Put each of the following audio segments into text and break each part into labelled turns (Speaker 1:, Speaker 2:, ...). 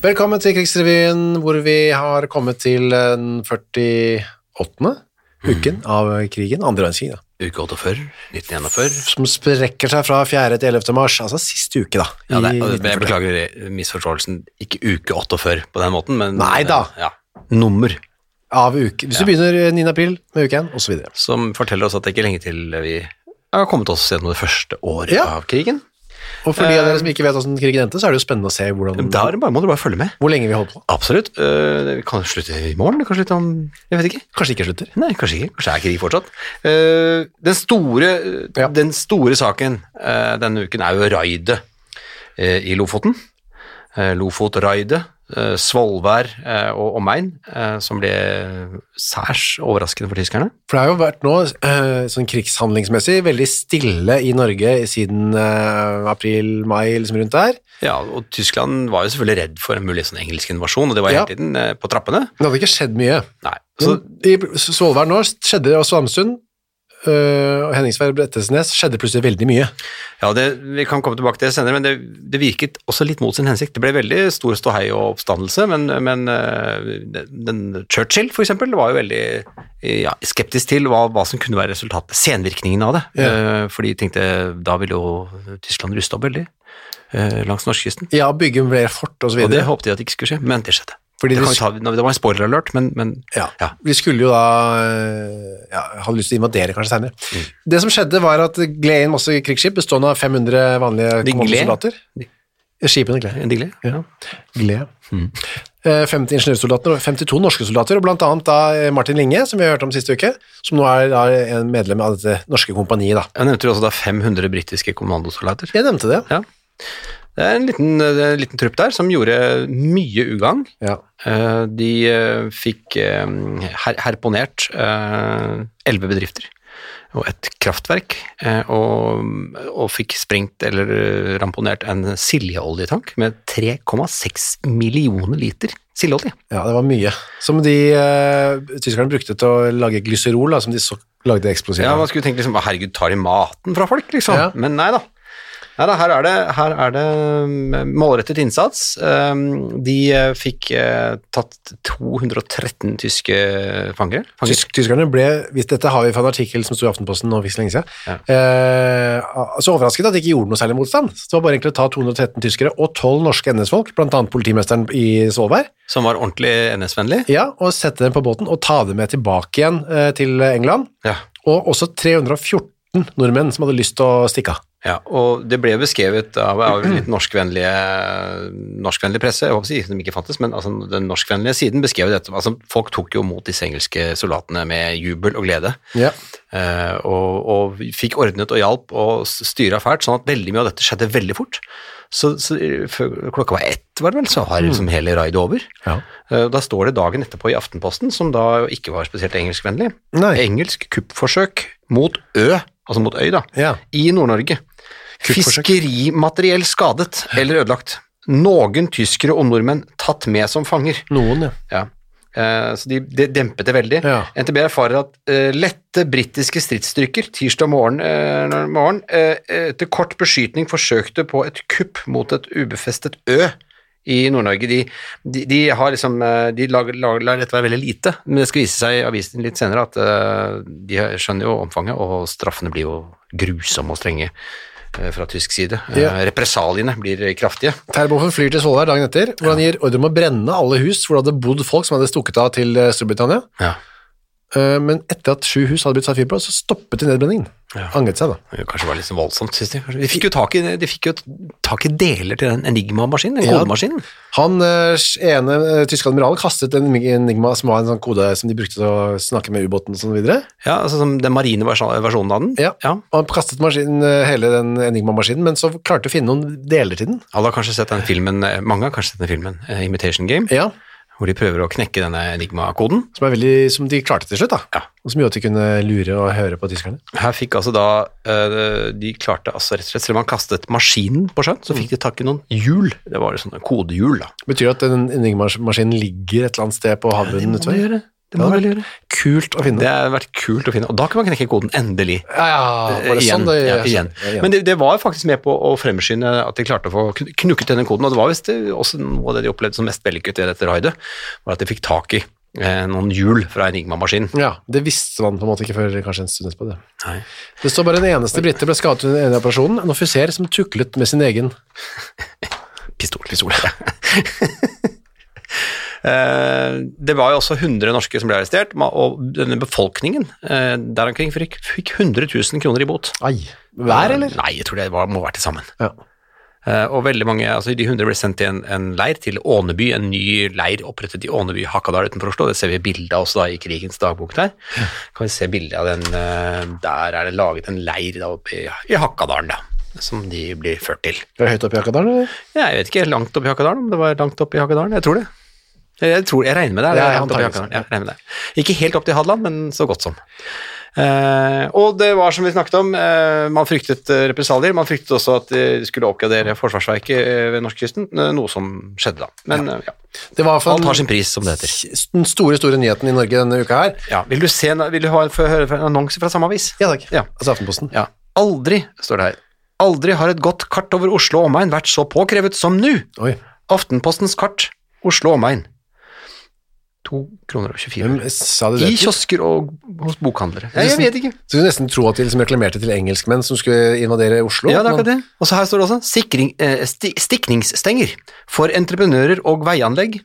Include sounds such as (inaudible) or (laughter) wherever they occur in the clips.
Speaker 1: Velkommen til Krigsrevyen, hvor vi har kommet til den 48.
Speaker 2: Mm.
Speaker 1: uken av krigen, andre verdenskrig, da.
Speaker 2: Uke 48, 1941.
Speaker 1: som sprekker seg fra 4. til 11. mars, altså siste uke, da.
Speaker 2: Ja, det,
Speaker 1: i
Speaker 2: og jeg
Speaker 1: 1940.
Speaker 2: beklager misforståelsen. Ikke uke 48 på den måten, men eh,
Speaker 1: Nei da.
Speaker 2: Ja. Nummer.
Speaker 1: Av uke. Hvis du begynner 9. april med uke 1, og så videre.
Speaker 2: Som forteller oss at det ikke er lenge til vi har kommet oss gjennom det første året
Speaker 1: Ja.
Speaker 2: av krigen.
Speaker 1: Og for de av dere som ikke vet hvordan krigen endte, så er det jo spennende å se hvordan,
Speaker 2: Da er det bare, må du bare følge med.
Speaker 1: hvor lenge vi holdt på.
Speaker 2: Absolutt. Eh, Vi kan slutte i morgen, kanskje litt om Jeg vet ikke.
Speaker 1: Kanskje det ikke slutter.
Speaker 2: Nei, kanskje ikke. Kanskje det er krig fortsatt. Eh, den, store,
Speaker 1: Ja.
Speaker 2: den store saken eh, denne uken er jo raidet eh, i Lofoten. Eh, Lofot-raidet, eh, Svolvær eh, og omegn, eh, som ble særs overraskende for tyskerne.
Speaker 1: For det har jo vært nå, eh, sånn krigshandlingsmessig, veldig stille i Norge siden eh, april, mai, liksom rundt der.
Speaker 2: Ja, og Tyskland var jo selvfølgelig redd for en mulig sånn engelsk invasjon, og det var
Speaker 1: Ja.
Speaker 2: hele tiden eh, på trappene.
Speaker 1: Men det hadde ikke skjedd mye.
Speaker 2: Nei, så,
Speaker 1: Men I Svolvær nå skjedde det, og Svamsund øh, og Henningsvær og Brettesnes skjedde plutselig veldig mye.
Speaker 2: ja, det, Vi kan komme tilbake til det senere, men det, det virket også litt mot sin hensikt. Det ble veldig stor ståhei og oppstandelse, men, men eh, den, den Churchill for eksempel, var jo veldig eh, ja, skeptisk til hva, hva som kunne være resultatet, senvirkningen av det.
Speaker 1: Ja.
Speaker 2: Eh, For de tenkte da ville jo Tyskland ruste opp veldig eh, langs norskekysten.
Speaker 1: Ja, bygge flere fort og så
Speaker 2: Og det
Speaker 1: videre.
Speaker 2: håpte de at det ikke skulle skje, men det skjedde.
Speaker 1: Fordi
Speaker 2: Det,
Speaker 1: de
Speaker 2: kan vi
Speaker 1: sk-
Speaker 2: ta, det var en spoiler-alert, men, men
Speaker 1: Ja.
Speaker 2: ja.
Speaker 1: Vi skulle jo da øh, ja, hadde lyst til å invadere kanskje senere.
Speaker 2: Mm.
Speaker 1: Det som skjedde var at det gled inn masse krigsskip bestående av 500 vanlige
Speaker 2: De gled?
Speaker 1: kommandosoldater. Skipene gled.
Speaker 2: En digle.
Speaker 1: Ja. Gled.
Speaker 2: Mm.
Speaker 1: Eh, 50 ingeniørsoldater og 52 norske soldater, og blant annet da eh, Martin Linge, som vi har hørt om siste uke, som nå er da en medlem av dette norske kompaniet. da.
Speaker 2: Jeg nevnte jo også da 500 britiske kommandosoldater.
Speaker 1: Jeg nevnte det.
Speaker 2: Ja. Det er en liten, eh, det er en liten trupp der som gjorde mye ugagn.
Speaker 1: Ja.
Speaker 2: Eh, De eh, fikk eh, her herponert eh, elleve bedrifter og et kraftverk, eh, og, og fikk sprengt eller eh, ramponert en siljeoljetank med 3,6 millioner liter sildeolje.
Speaker 1: Ja, det var mye. Som de eh, tyskerne brukte til å lage glyserol, da, som de så lagde eksplosiver
Speaker 2: Ja,
Speaker 1: av.
Speaker 2: man skulle tenke liksom, herregud, tar de maten fra folk, liksom?
Speaker 1: Ja.
Speaker 2: Men nei da. Nei da, her er det, her er det mm, målrettet innsats. Um, De eh, fikk eh, tatt 213 tyske fanger. fanger.
Speaker 1: Tysk, tyskerne ble, hvis dette har vi fra en artikkel som sto i Aftenposten nå ikke så lenge siden, eh, så overrasket at de ikke gjorde noe særlig motstand. Så det var bare egentlig å ta 213 tyskere og 12 norske NS-folk, blant annet politimesteren i Svolvær,
Speaker 2: Som var ordentlig NS-vennlig.
Speaker 1: ja, og sette dem på båten og ta dem med tilbake igjen eh, til England,
Speaker 2: Ja.
Speaker 1: og også 314 nordmenn som hadde lyst til å stikke av.
Speaker 2: ja. Og det ble beskrevet av, av litt norskvennlige, norskvennlig presse, jeg håper å si som ikke fantes, men altså, den norskvennlige siden beskrev dette. Altså, folk tok jo mot disse engelske soldatene med jubel og glede.
Speaker 1: Ja.
Speaker 2: Eh, og, og fikk ordnet og hjalp og styra fælt, sånn at veldig mye av dette skjedde veldig fort. Så, så eh, før klokka var ett, var det vel, så har liksom hele raidet over.
Speaker 1: Ja.
Speaker 2: Eh, og Da står det dagen etterpå i Aftenposten, som da ikke var spesielt engelskvennlig,
Speaker 1: Nei.
Speaker 2: engelsk kuppforsøk mot Ø, altså mot Øy, da,
Speaker 1: Ja.
Speaker 2: i Nord-Norge.
Speaker 1: Kuppforsøk.
Speaker 2: Fiskerimateriell skadet eller ødelagt. Noen tyskere og nordmenn tatt med som fanger.
Speaker 1: Noen, ja.
Speaker 2: Ja. Eh, Så de, de dempet det veldig.
Speaker 1: Ja.
Speaker 2: NTB erfarer at eh, lette britiske stridsstyrker tirsdag morgen, eh, når- morgen eh, etter kort beskytning forsøkte på et kupp mot et ubefestet ø i Nord-Norge. De, de, de har liksom eh, De lager, lager, lar dette være veldig lite, men det skal vise seg i avisen litt senere at eh, de skjønner jo omfanget, og straffene blir jo grusomme og strenge eh, fra tysk side. Eh,
Speaker 1: Ja.
Speaker 2: Represaliene blir kraftige.
Speaker 1: Terboven flyr til Svolvær dagen etter, hvor han gir ordre om å brenne alle hus hvor det hadde bodd folk som hadde stukket av til eh, Storbritannia.
Speaker 2: Ja.
Speaker 1: Eh, Men etter at sju hus hadde blitt satt fyr på, så stoppet de nedbrenningen.
Speaker 2: Ja.
Speaker 1: Angret seg, da.
Speaker 2: Det kanskje var litt sånn voldsomt, synes de. Kanskje- De fikk jo tak i, de fikk jo tak i deler til den Enigma-maskinen, den
Speaker 1: Ja.
Speaker 2: kodemaskinen.
Speaker 1: Han eh, ene eh, tyske admiralen kastet en enigma som var en sånn kode som de brukte til å snakke med ubåten og sånn videre.
Speaker 2: Ja, altså som den marine versjon- versjonen av den.
Speaker 1: Ja. Og han kastet maskinen, eh, hele den enigma-maskinen, men så klarte å finne noen deler til den.
Speaker 2: Alle har kanskje sett den filmen, eh, mange har kanskje sett den filmen, eh, Imitation Game,
Speaker 1: Ja.
Speaker 2: hvor de prøver å knekke denne enigma-koden.
Speaker 1: Som, er veldig, som de klarte til slutt, da.
Speaker 2: Ja.
Speaker 1: Og som gjorde at de kunne lure og høre på tyskerne.
Speaker 2: Her fikk altså da eh, De klarte altså rett og slett Selv om han kastet maskinen på sjøen, så fikk de tak i noen hjul. Det var jo sånne kodehjul, da.
Speaker 1: Betyr det at den enigmaskinen ligger et eller annet sted på havbunnen
Speaker 2: må
Speaker 1: utover?
Speaker 2: gjøre. Det må
Speaker 1: Ja,
Speaker 2: vel gjøre.
Speaker 1: Kult å
Speaker 2: Det
Speaker 1: finne.
Speaker 2: har vært kult å finne. Og da kunne man knekke koden, endelig.
Speaker 1: Ja, ja, var det
Speaker 2: Eh, igjen,
Speaker 1: sånn? Det,
Speaker 2: ja,
Speaker 1: jeg
Speaker 2: igjen.
Speaker 1: skjønner. Ja, igjen.
Speaker 2: Men det, det var faktisk med på å fremskynde at de klarte å få kn- knukket denne koden, og det var visst eh, også noe av det de opplevde som mest vellykket i dette raidet, var at de fikk tak i eh, noen hjul fra Enigma-maskinen.
Speaker 1: ja, det visste man på en måte ikke før kanskje en stund etterpå. Det.
Speaker 2: Nei.
Speaker 1: Det står bare en eneste brite ble skadet under den ene operasjonen, en offiser som tuklet med sin egen.
Speaker 2: Pistol. (laughs) Eh, det var jo også 100 norske som ble arrestert, ma- og denne befolkningen eh, der omkring fikk, fikk 100 000 kroner i bot.
Speaker 1: Ai. Hver, eller?
Speaker 2: Nei, jeg tror det var, må være til sammen.
Speaker 1: Ja.
Speaker 2: Eh, og veldig mange, altså De 100 ble sendt til en, en leir til Åneby, en ny leir opprettet i Åneby, Hakadal utenfor Oslo. Det ser vi bilde av også da i krigens dagbok der. Kan vi se bilde av den eh, Der er det laget en leir da oppe i, i Hakadalen, da, som de blir ført til.
Speaker 1: Var det høyt oppe i Hakadalen, eller?
Speaker 2: Ja, Jeg vet ikke, langt opp i Hakadalen, om det var langt opp i Hakadalen. Jeg tror det. Jeg, tror, jeg regner med det. det er
Speaker 1: Ja,
Speaker 2: langt opp i
Speaker 1: antageligvis.
Speaker 2: Hakadalen. Ja, jeg regner med det. Ikke helt opp til Hadeland, men så godt som. Eh, og det var som vi snakket om, eh, man fryktet eh, represalier. Man fryktet også at eh, de skulle oppgradere forsvarsverket eh, ved norskekysten, eh, noe som skjedde da. Men eh, ja.
Speaker 1: Det var i hvert fall
Speaker 2: alt har sin pris, som det heter.
Speaker 1: den store, store nyheten i Norge denne uka her.
Speaker 2: Ja. Vil du, se, en- vil du ha, få høre en annonse fra samme avis?
Speaker 1: Ja takk.
Speaker 2: Ja.
Speaker 1: Altså Aftenposten.
Speaker 2: Ja. Aldri, står det her. Aldri har et godt kart over Oslo og omegn vært så påkrevet som nå.
Speaker 1: Oi.
Speaker 2: Aftenpostens kart, Oslo og omegn. 2 kroner og 24.
Speaker 1: Hvem sa de det
Speaker 2: I
Speaker 1: til?
Speaker 2: kiosker og hos bokhandlere. Ja, jeg vet ikke.
Speaker 1: Så kunne nesten tro at de liksom reklamerte til engelskmenn som skulle invadere Oslo.
Speaker 2: Ja, det er akkurat
Speaker 1: men-
Speaker 2: det. Og så her står det også sikring, eh, sti, stikningsstenger for entreprenører og veianlegg.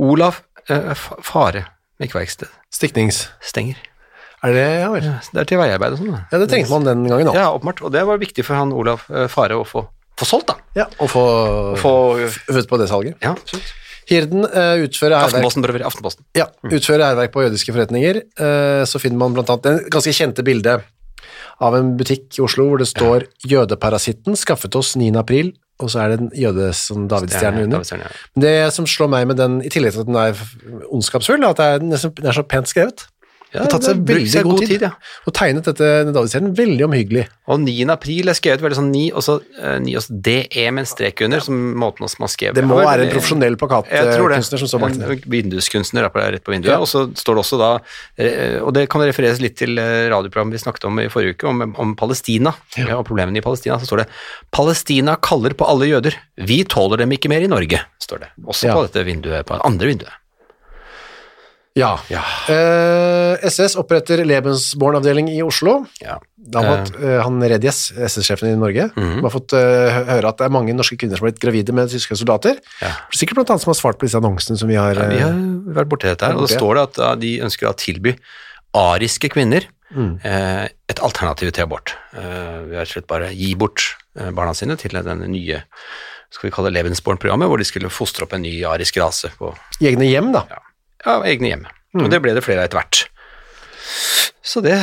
Speaker 2: Olav eh, F- Fare Mekkverksted
Speaker 1: Stiknings.
Speaker 2: stenger.
Speaker 1: Er det Ja vel.
Speaker 2: Det er til veiarbeid og sånn. da.
Speaker 1: Ja, det trengte man den gangen òg.
Speaker 2: Ja, åpenbart. Og det var viktig for han Olav eh, Fare å få, få solgt, da.
Speaker 1: Ja. Å få
Speaker 2: Få,
Speaker 1: født på det salget.
Speaker 2: ja, absolutt.
Speaker 1: Hirden eh, utfører hærverk
Speaker 2: Aftenposten, prøver. Aftenposten.
Speaker 1: ja, utfører hærverk på jødiske forretninger. Eh, så finner man blant annet det ganske kjente bildet av en butikk i Oslo hvor det står 'Jødeparasitten skaffet oss 9. april', og så er det en jøde som davidsstjerne under.
Speaker 2: Davidsstjerne, ja.
Speaker 1: Det som slår meg med den, i tillegg til at den er ondskapsfull, er at det er, nesten, den er så pent skrevet.
Speaker 2: Ja,
Speaker 1: Det har tatt seg
Speaker 2: brukt
Speaker 1: veldig god tid,
Speaker 2: ja.
Speaker 1: og tegnet dette davidsstjernen veldig omhyggelig.
Speaker 2: Og 9. april er skrevet veldig sånn 9, og så eh, 9 og så DE med en strek under, som måten som man skrev
Speaker 1: Det må
Speaker 2: Ja, vel,
Speaker 1: være en
Speaker 2: det-
Speaker 1: profesjonell
Speaker 2: jeg tror det.
Speaker 1: plakatkunstner som står bak det. Mm.
Speaker 2: En Vinduskunstner er på- rett på vinduet, og så står det også da, eh, og det kan refereres litt til eh, radioprogrammet vi snakket om i forrige uke, om, om Palestina, ja. og problemene i Palestina, så står det «Palestina kaller på alle jøder, vi tåler dem ikke mer i Norge», står det, også
Speaker 1: Ja.
Speaker 2: på dette vinduet, på andre vinduet.
Speaker 1: Ja.
Speaker 2: Ja.
Speaker 1: Eh, SS oppretter Lebensborn-avdeling i Oslo.
Speaker 2: Ja.
Speaker 1: Da har fått, eh, han Redjes, SS-sjefen i Norge,
Speaker 2: Mhm.
Speaker 1: har fått eh, hø- høre at det er mange norske kvinner som har blitt gravide med tyske soldater.
Speaker 2: Ja.
Speaker 1: Sikkert blant annet som har svart på disse annonsene som vi har.
Speaker 2: Ja, vi
Speaker 1: eh,
Speaker 2: har vært borti dette her, og da
Speaker 1: borti det.
Speaker 2: står det at ja, de ønsker å tilby ariske kvinner
Speaker 1: Mm.
Speaker 2: eh, et alternativ til abort. Eh, vi har rett og slett bare gi bort eh, barna sine til denne nye skal vi kalle det Lebensborn-programmet, hvor de skulle fostre opp en ny arisk rase på
Speaker 1: i egne hjem, da.
Speaker 2: ja, egne hjem.
Speaker 1: Mm.
Speaker 2: Og det ble det flere av etter hvert. Så det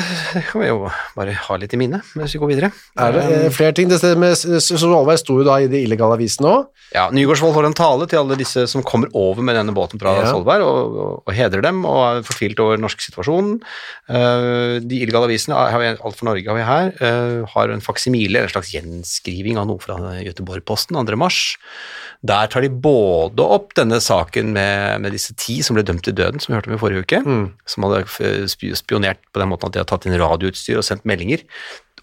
Speaker 2: kan vi jo bare ha litt i minne mens vi går videre.
Speaker 1: Er det
Speaker 2: Um.
Speaker 1: eh, flere ting? Det stedet med S- S- Solveig sto jo da i de illegale avisene òg.
Speaker 2: Ja, Nygaardsvold holder en tale til alle disse som kommer over med denne båten fra
Speaker 1: Ja.
Speaker 2: Svolvær, og, og, og hedrer dem og er fortvilt over den norske situasjonen. Eh, de illegale avisene, er- har vi, Alt for Norge har vi her, eh, har en faksimile, eller en slags gjenskriving av noe fra Göteborg-posten 2. mars. Der tar de både opp denne saken med, med disse ti som ble dømt til døden, som vi hørte om i forrige uke, som hadde eh, sp- spionert på den måten at de hadde tatt inn radioutstyr og sendt meldinger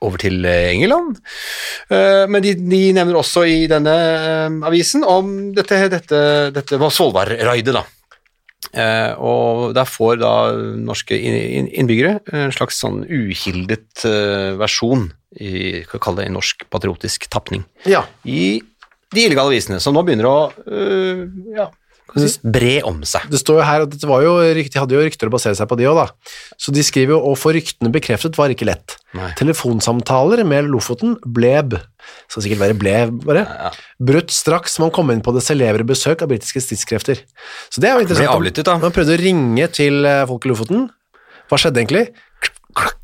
Speaker 2: over til eh, England. Eh, Men de, de nevner også i denne eh, avisen om dette, dette, dette var Svolvær-raidet, da. Eh, og der får da norske inn- inn- innbyggere en slags sånn uhildet eh, versjon i, hva kalle det, en norsk patriotisk tapning
Speaker 1: Ja.
Speaker 2: i de illegale avisene, som nå begynner å øh, ja, hva skal jeg si, bre om seg.
Speaker 1: Det står jo her at dette var jo, rykt- de hadde jo rykter å basere seg på de òg, da. Så de skriver jo 'Å få ryktene bekreftet var ikke lett'.
Speaker 2: Nei.
Speaker 1: Telefonsamtaler med Lofoten bleb. Skal sikkert være bleb, bare.
Speaker 2: Ja, ja.
Speaker 1: Brutt straks man kom inn på det celebre besøk av britiske stridskrefter. Så det er jo interessant.
Speaker 2: avlyttet, da.
Speaker 1: Man prøvde å ringe til eh, folk i Lofoten. Hva skjedde egentlig?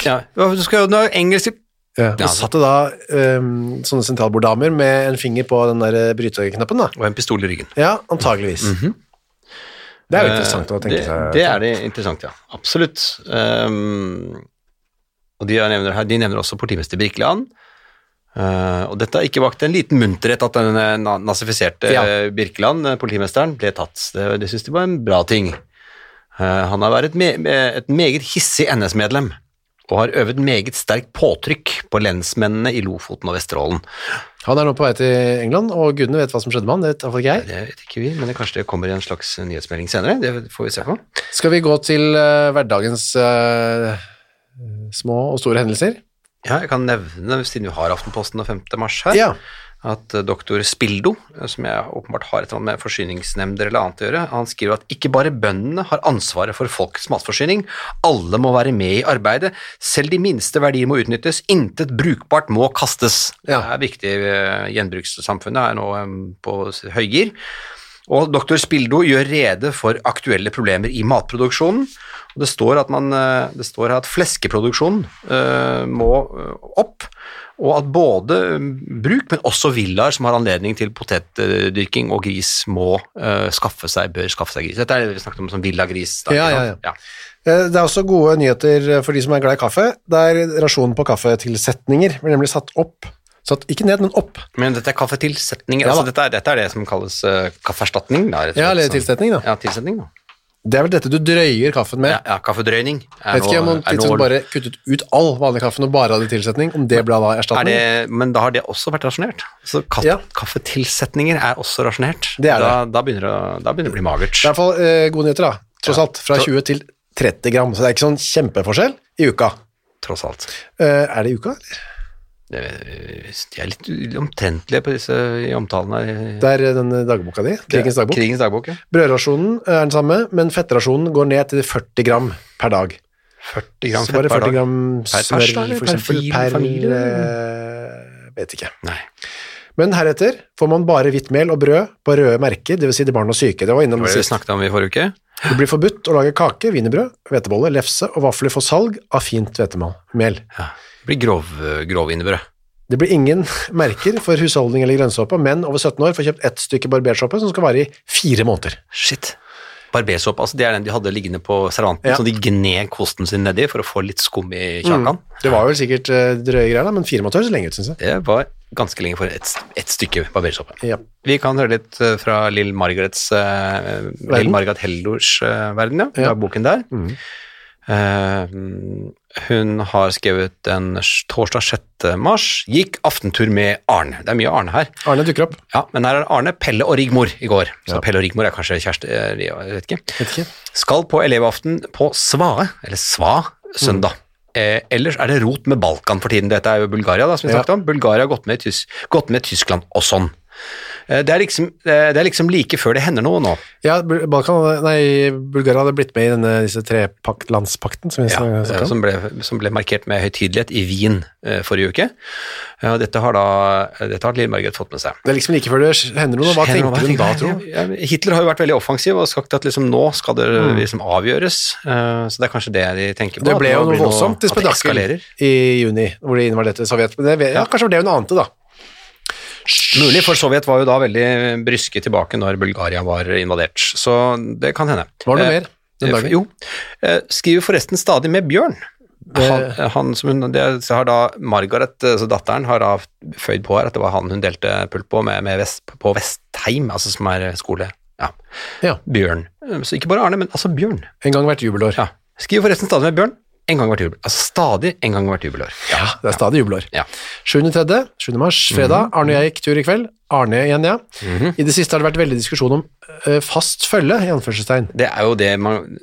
Speaker 2: Ja, hva- du skal jo nå engelsk
Speaker 1: Ja, Eh, og
Speaker 2: Ja,
Speaker 1: så satt det da ehm, sånne sentralborddamer med en finger på den der eh, bryteknappen, da.
Speaker 2: Og en pistol i ryggen.
Speaker 1: Ja, antageligvis. Det er jo interessant å tenke
Speaker 2: Mhm. Eh,
Speaker 1: seg.
Speaker 2: det, Det er det interessant, ja. Absolutt. Ehm, og de jeg nevner her, de nevner også politimester Birkeland. Eh, og dette har ikke vakt en liten munterhet at den eh, na- nazifiserte
Speaker 1: Ja.
Speaker 2: eh, Birkeland, eh, politimesteren, ble tatt. Det, det syns de var en bra ting. Eh, han har vært et, me eh, et meget hissig NS-medlem og har øvet meget sterkt påtrykk på lensmennene i Lofoten og Vesterålen.
Speaker 1: Han er nå på vei til England, og gudene vet hva som skjedde med han, det vet iallfall ikke jeg.
Speaker 2: Det vet ikke vi, men det kanskje det kommer i en slags nyhetsmelding senere. Det får vi se på.
Speaker 1: Skal vi gå til eh, hverdagens eh, små og store hendelser?
Speaker 2: Ja, jeg kan nevne, siden vi har Aftenposten og 5. mars her,
Speaker 1: Ja.
Speaker 2: at eh, doktor Spildo, eh, som jeg åpenbart har et eller annet med forsyningsnemnder eller annet å gjøre, han skriver at ikke bare bøndene har ansvaret for folks matforsyning, alle må være med i arbeidet, selv de minste verdier må utnyttes, intet brukbart må kastes.
Speaker 1: Ja.
Speaker 2: Det er viktig, eh, gjenbrukssamfunnet er nå eh, på s- høygir. Og doktor Spildo gjør rede for aktuelle problemer i matproduksjonen. Og det står, at man, eh, det står her at fleskeproduksjonen eh, må eh, opp, og at både mm, bruk, men også villaer som har anledning til potetdyrking og gris, må eh, skaffe seg, bør skaffe seg gris. Dette er det vi snakket om som villagris. da,
Speaker 1: Ja,
Speaker 2: ikke
Speaker 1: ja,
Speaker 2: sant?
Speaker 1: Eh, Det er også gode nyheter eh, for de som er glad i kaffe, der rasjonen på kaffetilsetninger blir nemlig satt opp. Satt, ikke ned, men opp.
Speaker 2: Men dette er kaffetilsetninger.
Speaker 1: Ja,
Speaker 2: altså,
Speaker 1: da.
Speaker 2: dette, er, dette er det som kalles eh, kaffeerstatning. da, rett og slett,
Speaker 1: Ja, eller
Speaker 2: sånn.
Speaker 1: tilsetning, da.
Speaker 2: Ja, tilsetning, da.
Speaker 1: Det er vel dette du drøyer kaffen med.
Speaker 2: Ja, ja, kaffedrøyning. er
Speaker 1: Vet ikke
Speaker 2: nå-
Speaker 1: om man
Speaker 2: er nå-
Speaker 1: tidspunkt bare kuttet ut all vanlig kaffe og bare hadde tilsetning, om det ble da
Speaker 2: er det,
Speaker 1: erstatning.
Speaker 2: men da har det også vært rasjonert. Så ka
Speaker 1: Ja.
Speaker 2: kaffetilsetninger er også rasjonert.
Speaker 1: Det er
Speaker 2: Da, da, begynner det, å- da begynner det å bli magert.
Speaker 1: Det er i hvert fall eh, gode nyheter, da. Tross
Speaker 2: Ja.
Speaker 1: alt. Fra
Speaker 2: Så-
Speaker 1: 20 til 30 gram, så det er ikke sånn kjempeforskjell i uka.
Speaker 2: Tross alt.
Speaker 1: Eh, er det i uka, eller?
Speaker 2: Det, de er litt omtrentlige på disse i omtalene.
Speaker 1: Det er eh, den dagboka di, krigens dagbok.
Speaker 2: Krigens dagbok, ja.
Speaker 1: Brødrasjonen eh, er den samme, men fettrasjonen går ned til 40 gram per dag.
Speaker 2: 40 gram
Speaker 1: så bare
Speaker 2: fett per
Speaker 1: 40
Speaker 2: dag.
Speaker 1: gram
Speaker 2: Per
Speaker 1: smør,
Speaker 2: pers, da, eller
Speaker 1: for
Speaker 2: per
Speaker 1: eksempel,
Speaker 2: fil-
Speaker 1: per,
Speaker 2: familie?
Speaker 1: eh, Vet ikke.
Speaker 2: Nei.
Speaker 1: Men heretter får man bare hvitt mel og brød på røde merker, dvs. Si til barn og syke. Det var
Speaker 2: Det
Speaker 1: innom
Speaker 2: var det vi
Speaker 1: sist.
Speaker 2: snakket om i forrige uke.
Speaker 1: Det blir forbudt å lage kake, wienerbrød, hveteboller, lefse og vafler for salg av fint hvetemel.
Speaker 2: Ja. Det blir grov, grovinnebrød.
Speaker 1: Det blir ingen (laughs) merker for husholdning eller grønnsåpe, men over 17 år får kjøpt ett stykke barbersåpe som skal vare i fire måneder.
Speaker 2: Shit. Barbersåpe, altså det er den de hadde liggende på servanten,
Speaker 1: Ja.
Speaker 2: så de gned kosten sin nedi for å få litt skum i kjakan.
Speaker 1: Det var vel sikkert eh, drøye greier, da, men fire måneder høres lenge ut, syns jeg.
Speaker 2: Det var ganske lenge for et, et stykke barbersåpe.
Speaker 1: Ja.
Speaker 2: Vi kan høre litt eh, fra Lill Margarets eh, Lill Margaret Heldors eh, verden, ja.
Speaker 1: Ja.
Speaker 2: Boken der.
Speaker 1: Mhm.
Speaker 2: Eh, hun har skrevet den s- torsdag 6. mars. Gikk aftentur med Arne. Det er mye Arne her.
Speaker 1: Arne dukker opp.
Speaker 2: Ja, Men her er Arne, Pelle og Rigmor i går. Så
Speaker 1: Ja.
Speaker 2: Pelle og Rigmor er kanskje kjæreste, eh, jeg vet ikke.
Speaker 1: Vet ikke.
Speaker 2: Skal på elevaften på Svae, eller Sva, søndag. Eh, ellers er det rot med Balkan for tiden. Dette er jo Bulgaria, da, som vi
Speaker 1: Ja.
Speaker 2: snakket om. Bulgaria har gått med, i Tys gått med Tyskland og sånn. Eh, det, er liksom, eh, det er liksom like før det hender noe nå.
Speaker 1: Ja, Bul- Balkan, nei, Bulgaria hadde blitt med i denne disse trelandspakten som vi
Speaker 2: Ja, sånn.
Speaker 1: snak- snakket om.
Speaker 2: eh, som, ble, som ble markert med høytidelighet i Wien eh, forrige uke. Eh, og dette har da dette har Lill Margaret fått med seg.
Speaker 1: Det er liksom like før det hender noe. Hva
Speaker 2: Henrik,
Speaker 1: tenkte hun da, tro?
Speaker 2: Ja, Hitler har jo vært veldig offensiv og sagt at liksom nå skal det liksom avgjøres. Eh, så det er kanskje det de tenker på.
Speaker 1: Mm. Det
Speaker 2: at
Speaker 1: ble
Speaker 2: nå
Speaker 1: jo noe
Speaker 2: blir
Speaker 1: voldsomt i
Speaker 2: at det
Speaker 1: spedakkel
Speaker 2: eskalerer.
Speaker 1: i juni, hvor de invaderte Sovjet. Men det, vet- ja, kanskje det var det hun ante, da.
Speaker 2: Mulig, for Sovjet var jo da veldig bryske tilbake når Bulgaria var invadert. Så det kan hende.
Speaker 1: Var det noe
Speaker 2: Eh,
Speaker 1: mer den dagen?
Speaker 2: Jo. Eh, Skriver forresten stadig med Bjørn. Han, eh, han som hun, det, så har da Margaret, eh, så datteren, har da føyd på her at det var han hun delte pult på med, med vest, på Vestheim, altså som er skole. Ja.
Speaker 1: Ja,
Speaker 2: Bjørn. Eh, Så ikke bare Arne, men altså Bjørn.
Speaker 1: en gang hvert jubelår.
Speaker 2: Ja. Skriver forresten stadig med Bjørn. En gang hvert jubel. Altså stadig en gang hvert jubelår.
Speaker 1: Ja, det er stadig jubelår.
Speaker 2: Ja.
Speaker 1: 7.3., 7.
Speaker 2: Mhm.
Speaker 1: mars, fredag. Arne og jeg gikk tur i kveld. Arne igjen, ja. I det siste har det vært veldig diskusjon om eh, fast følge, i anførselstegn.
Speaker 2: Det er jo det man,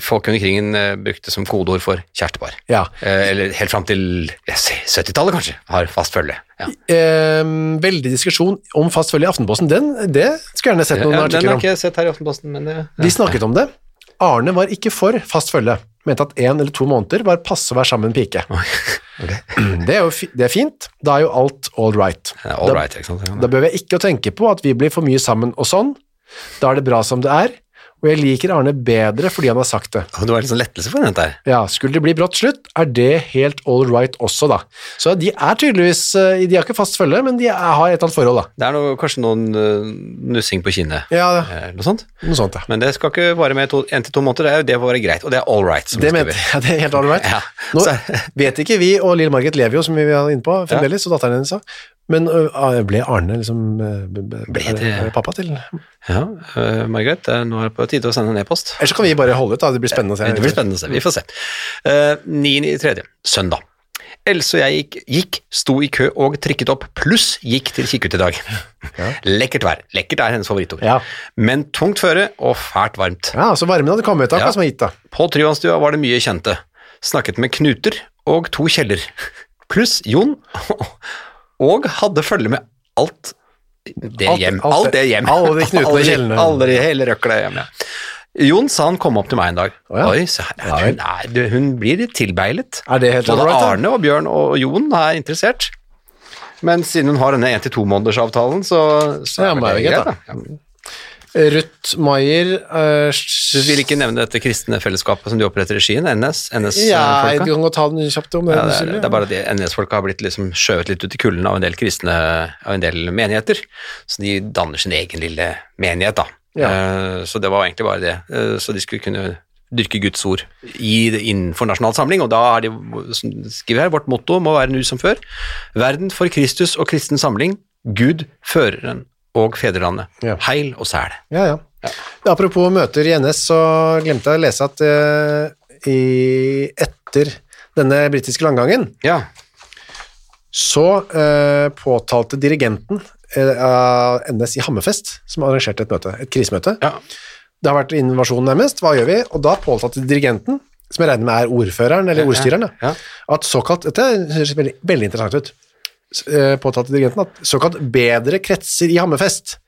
Speaker 2: folk under krigen eh, brukte som kodeord for kjærestepar.
Speaker 1: Ja.
Speaker 2: Eh, eller helt fram til jeg ser, 70-tallet, kanskje, har fast følge. Ja.
Speaker 1: Eh, veldig diskusjon om fast følge i Aftenposten. Den, det skulle jeg gjerne sett noen
Speaker 2: Ja, den
Speaker 1: artikler
Speaker 2: har
Speaker 1: om.
Speaker 2: ikke jeg sett her i Aftenposten, men det ja.
Speaker 1: De snakket om det. Arne var ikke for fast følge, mente at en eller to måneder var passe å være sammen med en pike.
Speaker 2: (laughs)
Speaker 1: (clears throat) Det er jo fi- det er fint, da er jo alt all right.
Speaker 2: Ja, All
Speaker 1: da,
Speaker 2: right, ikke sant? Ja.
Speaker 1: da behøver jeg ikke å tenke på at vi blir for mye sammen og sånn. Da er det bra som det er, og jeg liker Arne bedre fordi han har sagt det.
Speaker 2: Det var litt sånn lettelse for henne, dette her.
Speaker 1: Ja, skulle det bli brått slutt, er det helt all right også, da. Så de er tydeligvis eh, De har ikke fast følge, men de er, har et eller annet forhold, da.
Speaker 2: Det er noe, kanskje noen eh, nussing på kinnet,
Speaker 1: Ja,
Speaker 2: eh, noe sånn.
Speaker 1: noe sånt, ja.
Speaker 2: Men det skal ikke vare med to- en til to måneder, det, er jo- det får være greit, og det er all right. som
Speaker 1: Det
Speaker 2: skriver.
Speaker 1: mente jeg, det er helt all right.
Speaker 2: Ja.
Speaker 1: Nå
Speaker 2: Så-
Speaker 1: vet ikke vi, og lille Margit lever jo, som vi var inne på fremdeles, og datteren hennes òg, men ø, ble Arne liksom ø, b- b-
Speaker 2: Ble det-
Speaker 1: pappa til Ellers
Speaker 2: Ja, eh, Margaret, det er- nå er det på tide å sende en e-post.
Speaker 1: så kan vi bare holde ut, da. Det blir spennende å se.
Speaker 2: Det blir spennende å se. Vi får se. Eh, 9. i tredje, søndag. Else og jeg gikk, gikk, sto i kø og trikket opp, pluss gikk til kikkut i dag.
Speaker 1: Ja.
Speaker 2: Lekkert vær. Lekkert er hennes favorittord.
Speaker 1: Ja.
Speaker 2: Men tungt føre og fælt varmt.
Speaker 1: Ja, så varmen hadde kommet, da,
Speaker 2: Ja.
Speaker 1: hva som er gitt, da.
Speaker 2: På Tryvannstua var det mye kjente. Snakket med Knuter og to Kjeller. Pluss Jon. Og hadde følge med alt det
Speaker 1: Alt-
Speaker 2: hjem.
Speaker 1: alt-
Speaker 2: Alt det hjem.
Speaker 1: alle de knutene og
Speaker 2: Alle de-
Speaker 1: kjellene.
Speaker 2: Alle de hele røkla hjem, ja. Jon sa han kom opp til meg en dag.
Speaker 1: ja.
Speaker 2: Oi, se her. Hun, er, du, hun blir litt tilbeilet.
Speaker 1: Er det helt all
Speaker 2: Både
Speaker 1: right, da?
Speaker 2: Arne og Bjørn og Jon er interessert. Men siden hun har denne 1-2-månedersavtalen, så, så
Speaker 1: Ja,
Speaker 2: er
Speaker 1: men
Speaker 2: vel det
Speaker 1: det er jo greit,
Speaker 2: greit,
Speaker 1: da.
Speaker 2: da. Ja.
Speaker 1: Ruth Maier ø, s-
Speaker 2: Du vil ikke nevne dette kristne fellesskapet som de oppretter i Skien? NS? NS
Speaker 1: Ja,
Speaker 2: eh, -folka?
Speaker 1: jeg kan godt ta den kjapt om det.
Speaker 2: Ja, det,
Speaker 1: hvis du
Speaker 2: er,
Speaker 1: vil.
Speaker 2: det er bare at de NS-folka har blitt liksom skjøvet litt ut i kulden av en del kristne, av en del menigheter, så de danner sin egen lille menighet da.
Speaker 1: Ja.
Speaker 2: Eh, Så det var egentlig bare det. Eh, Så de skulle kunne dyrke Guds ord i, innenfor nasjonal samling, og da er de, som de skriver her, vårt motto må være nu som før. Verden for Kristus og kristen samling, Gud, føreren og fedrelandet.
Speaker 1: Ja.
Speaker 2: Heil og sæl.
Speaker 1: Ja, ja. Apropos møter i NS, så glemte jeg å lese at eh, i, etter denne britiske landgangen,
Speaker 2: Ja,
Speaker 1: så eh, påtalte dirigenten eh, av NS i Hammerfest, som arrangerte et møte, et krisemøte.
Speaker 2: ja.
Speaker 1: Det har vært invasjon nærmest, hva gjør vi? Og da påtalte dirigenten, som jeg regner med er ordføreren eller ordstyreren, da,
Speaker 2: ja.
Speaker 1: at såkalt, dette høres veldig, veldig interessant ut, S- eh, påtalte dirigenten at såkalt bedre kretser i Hammerfest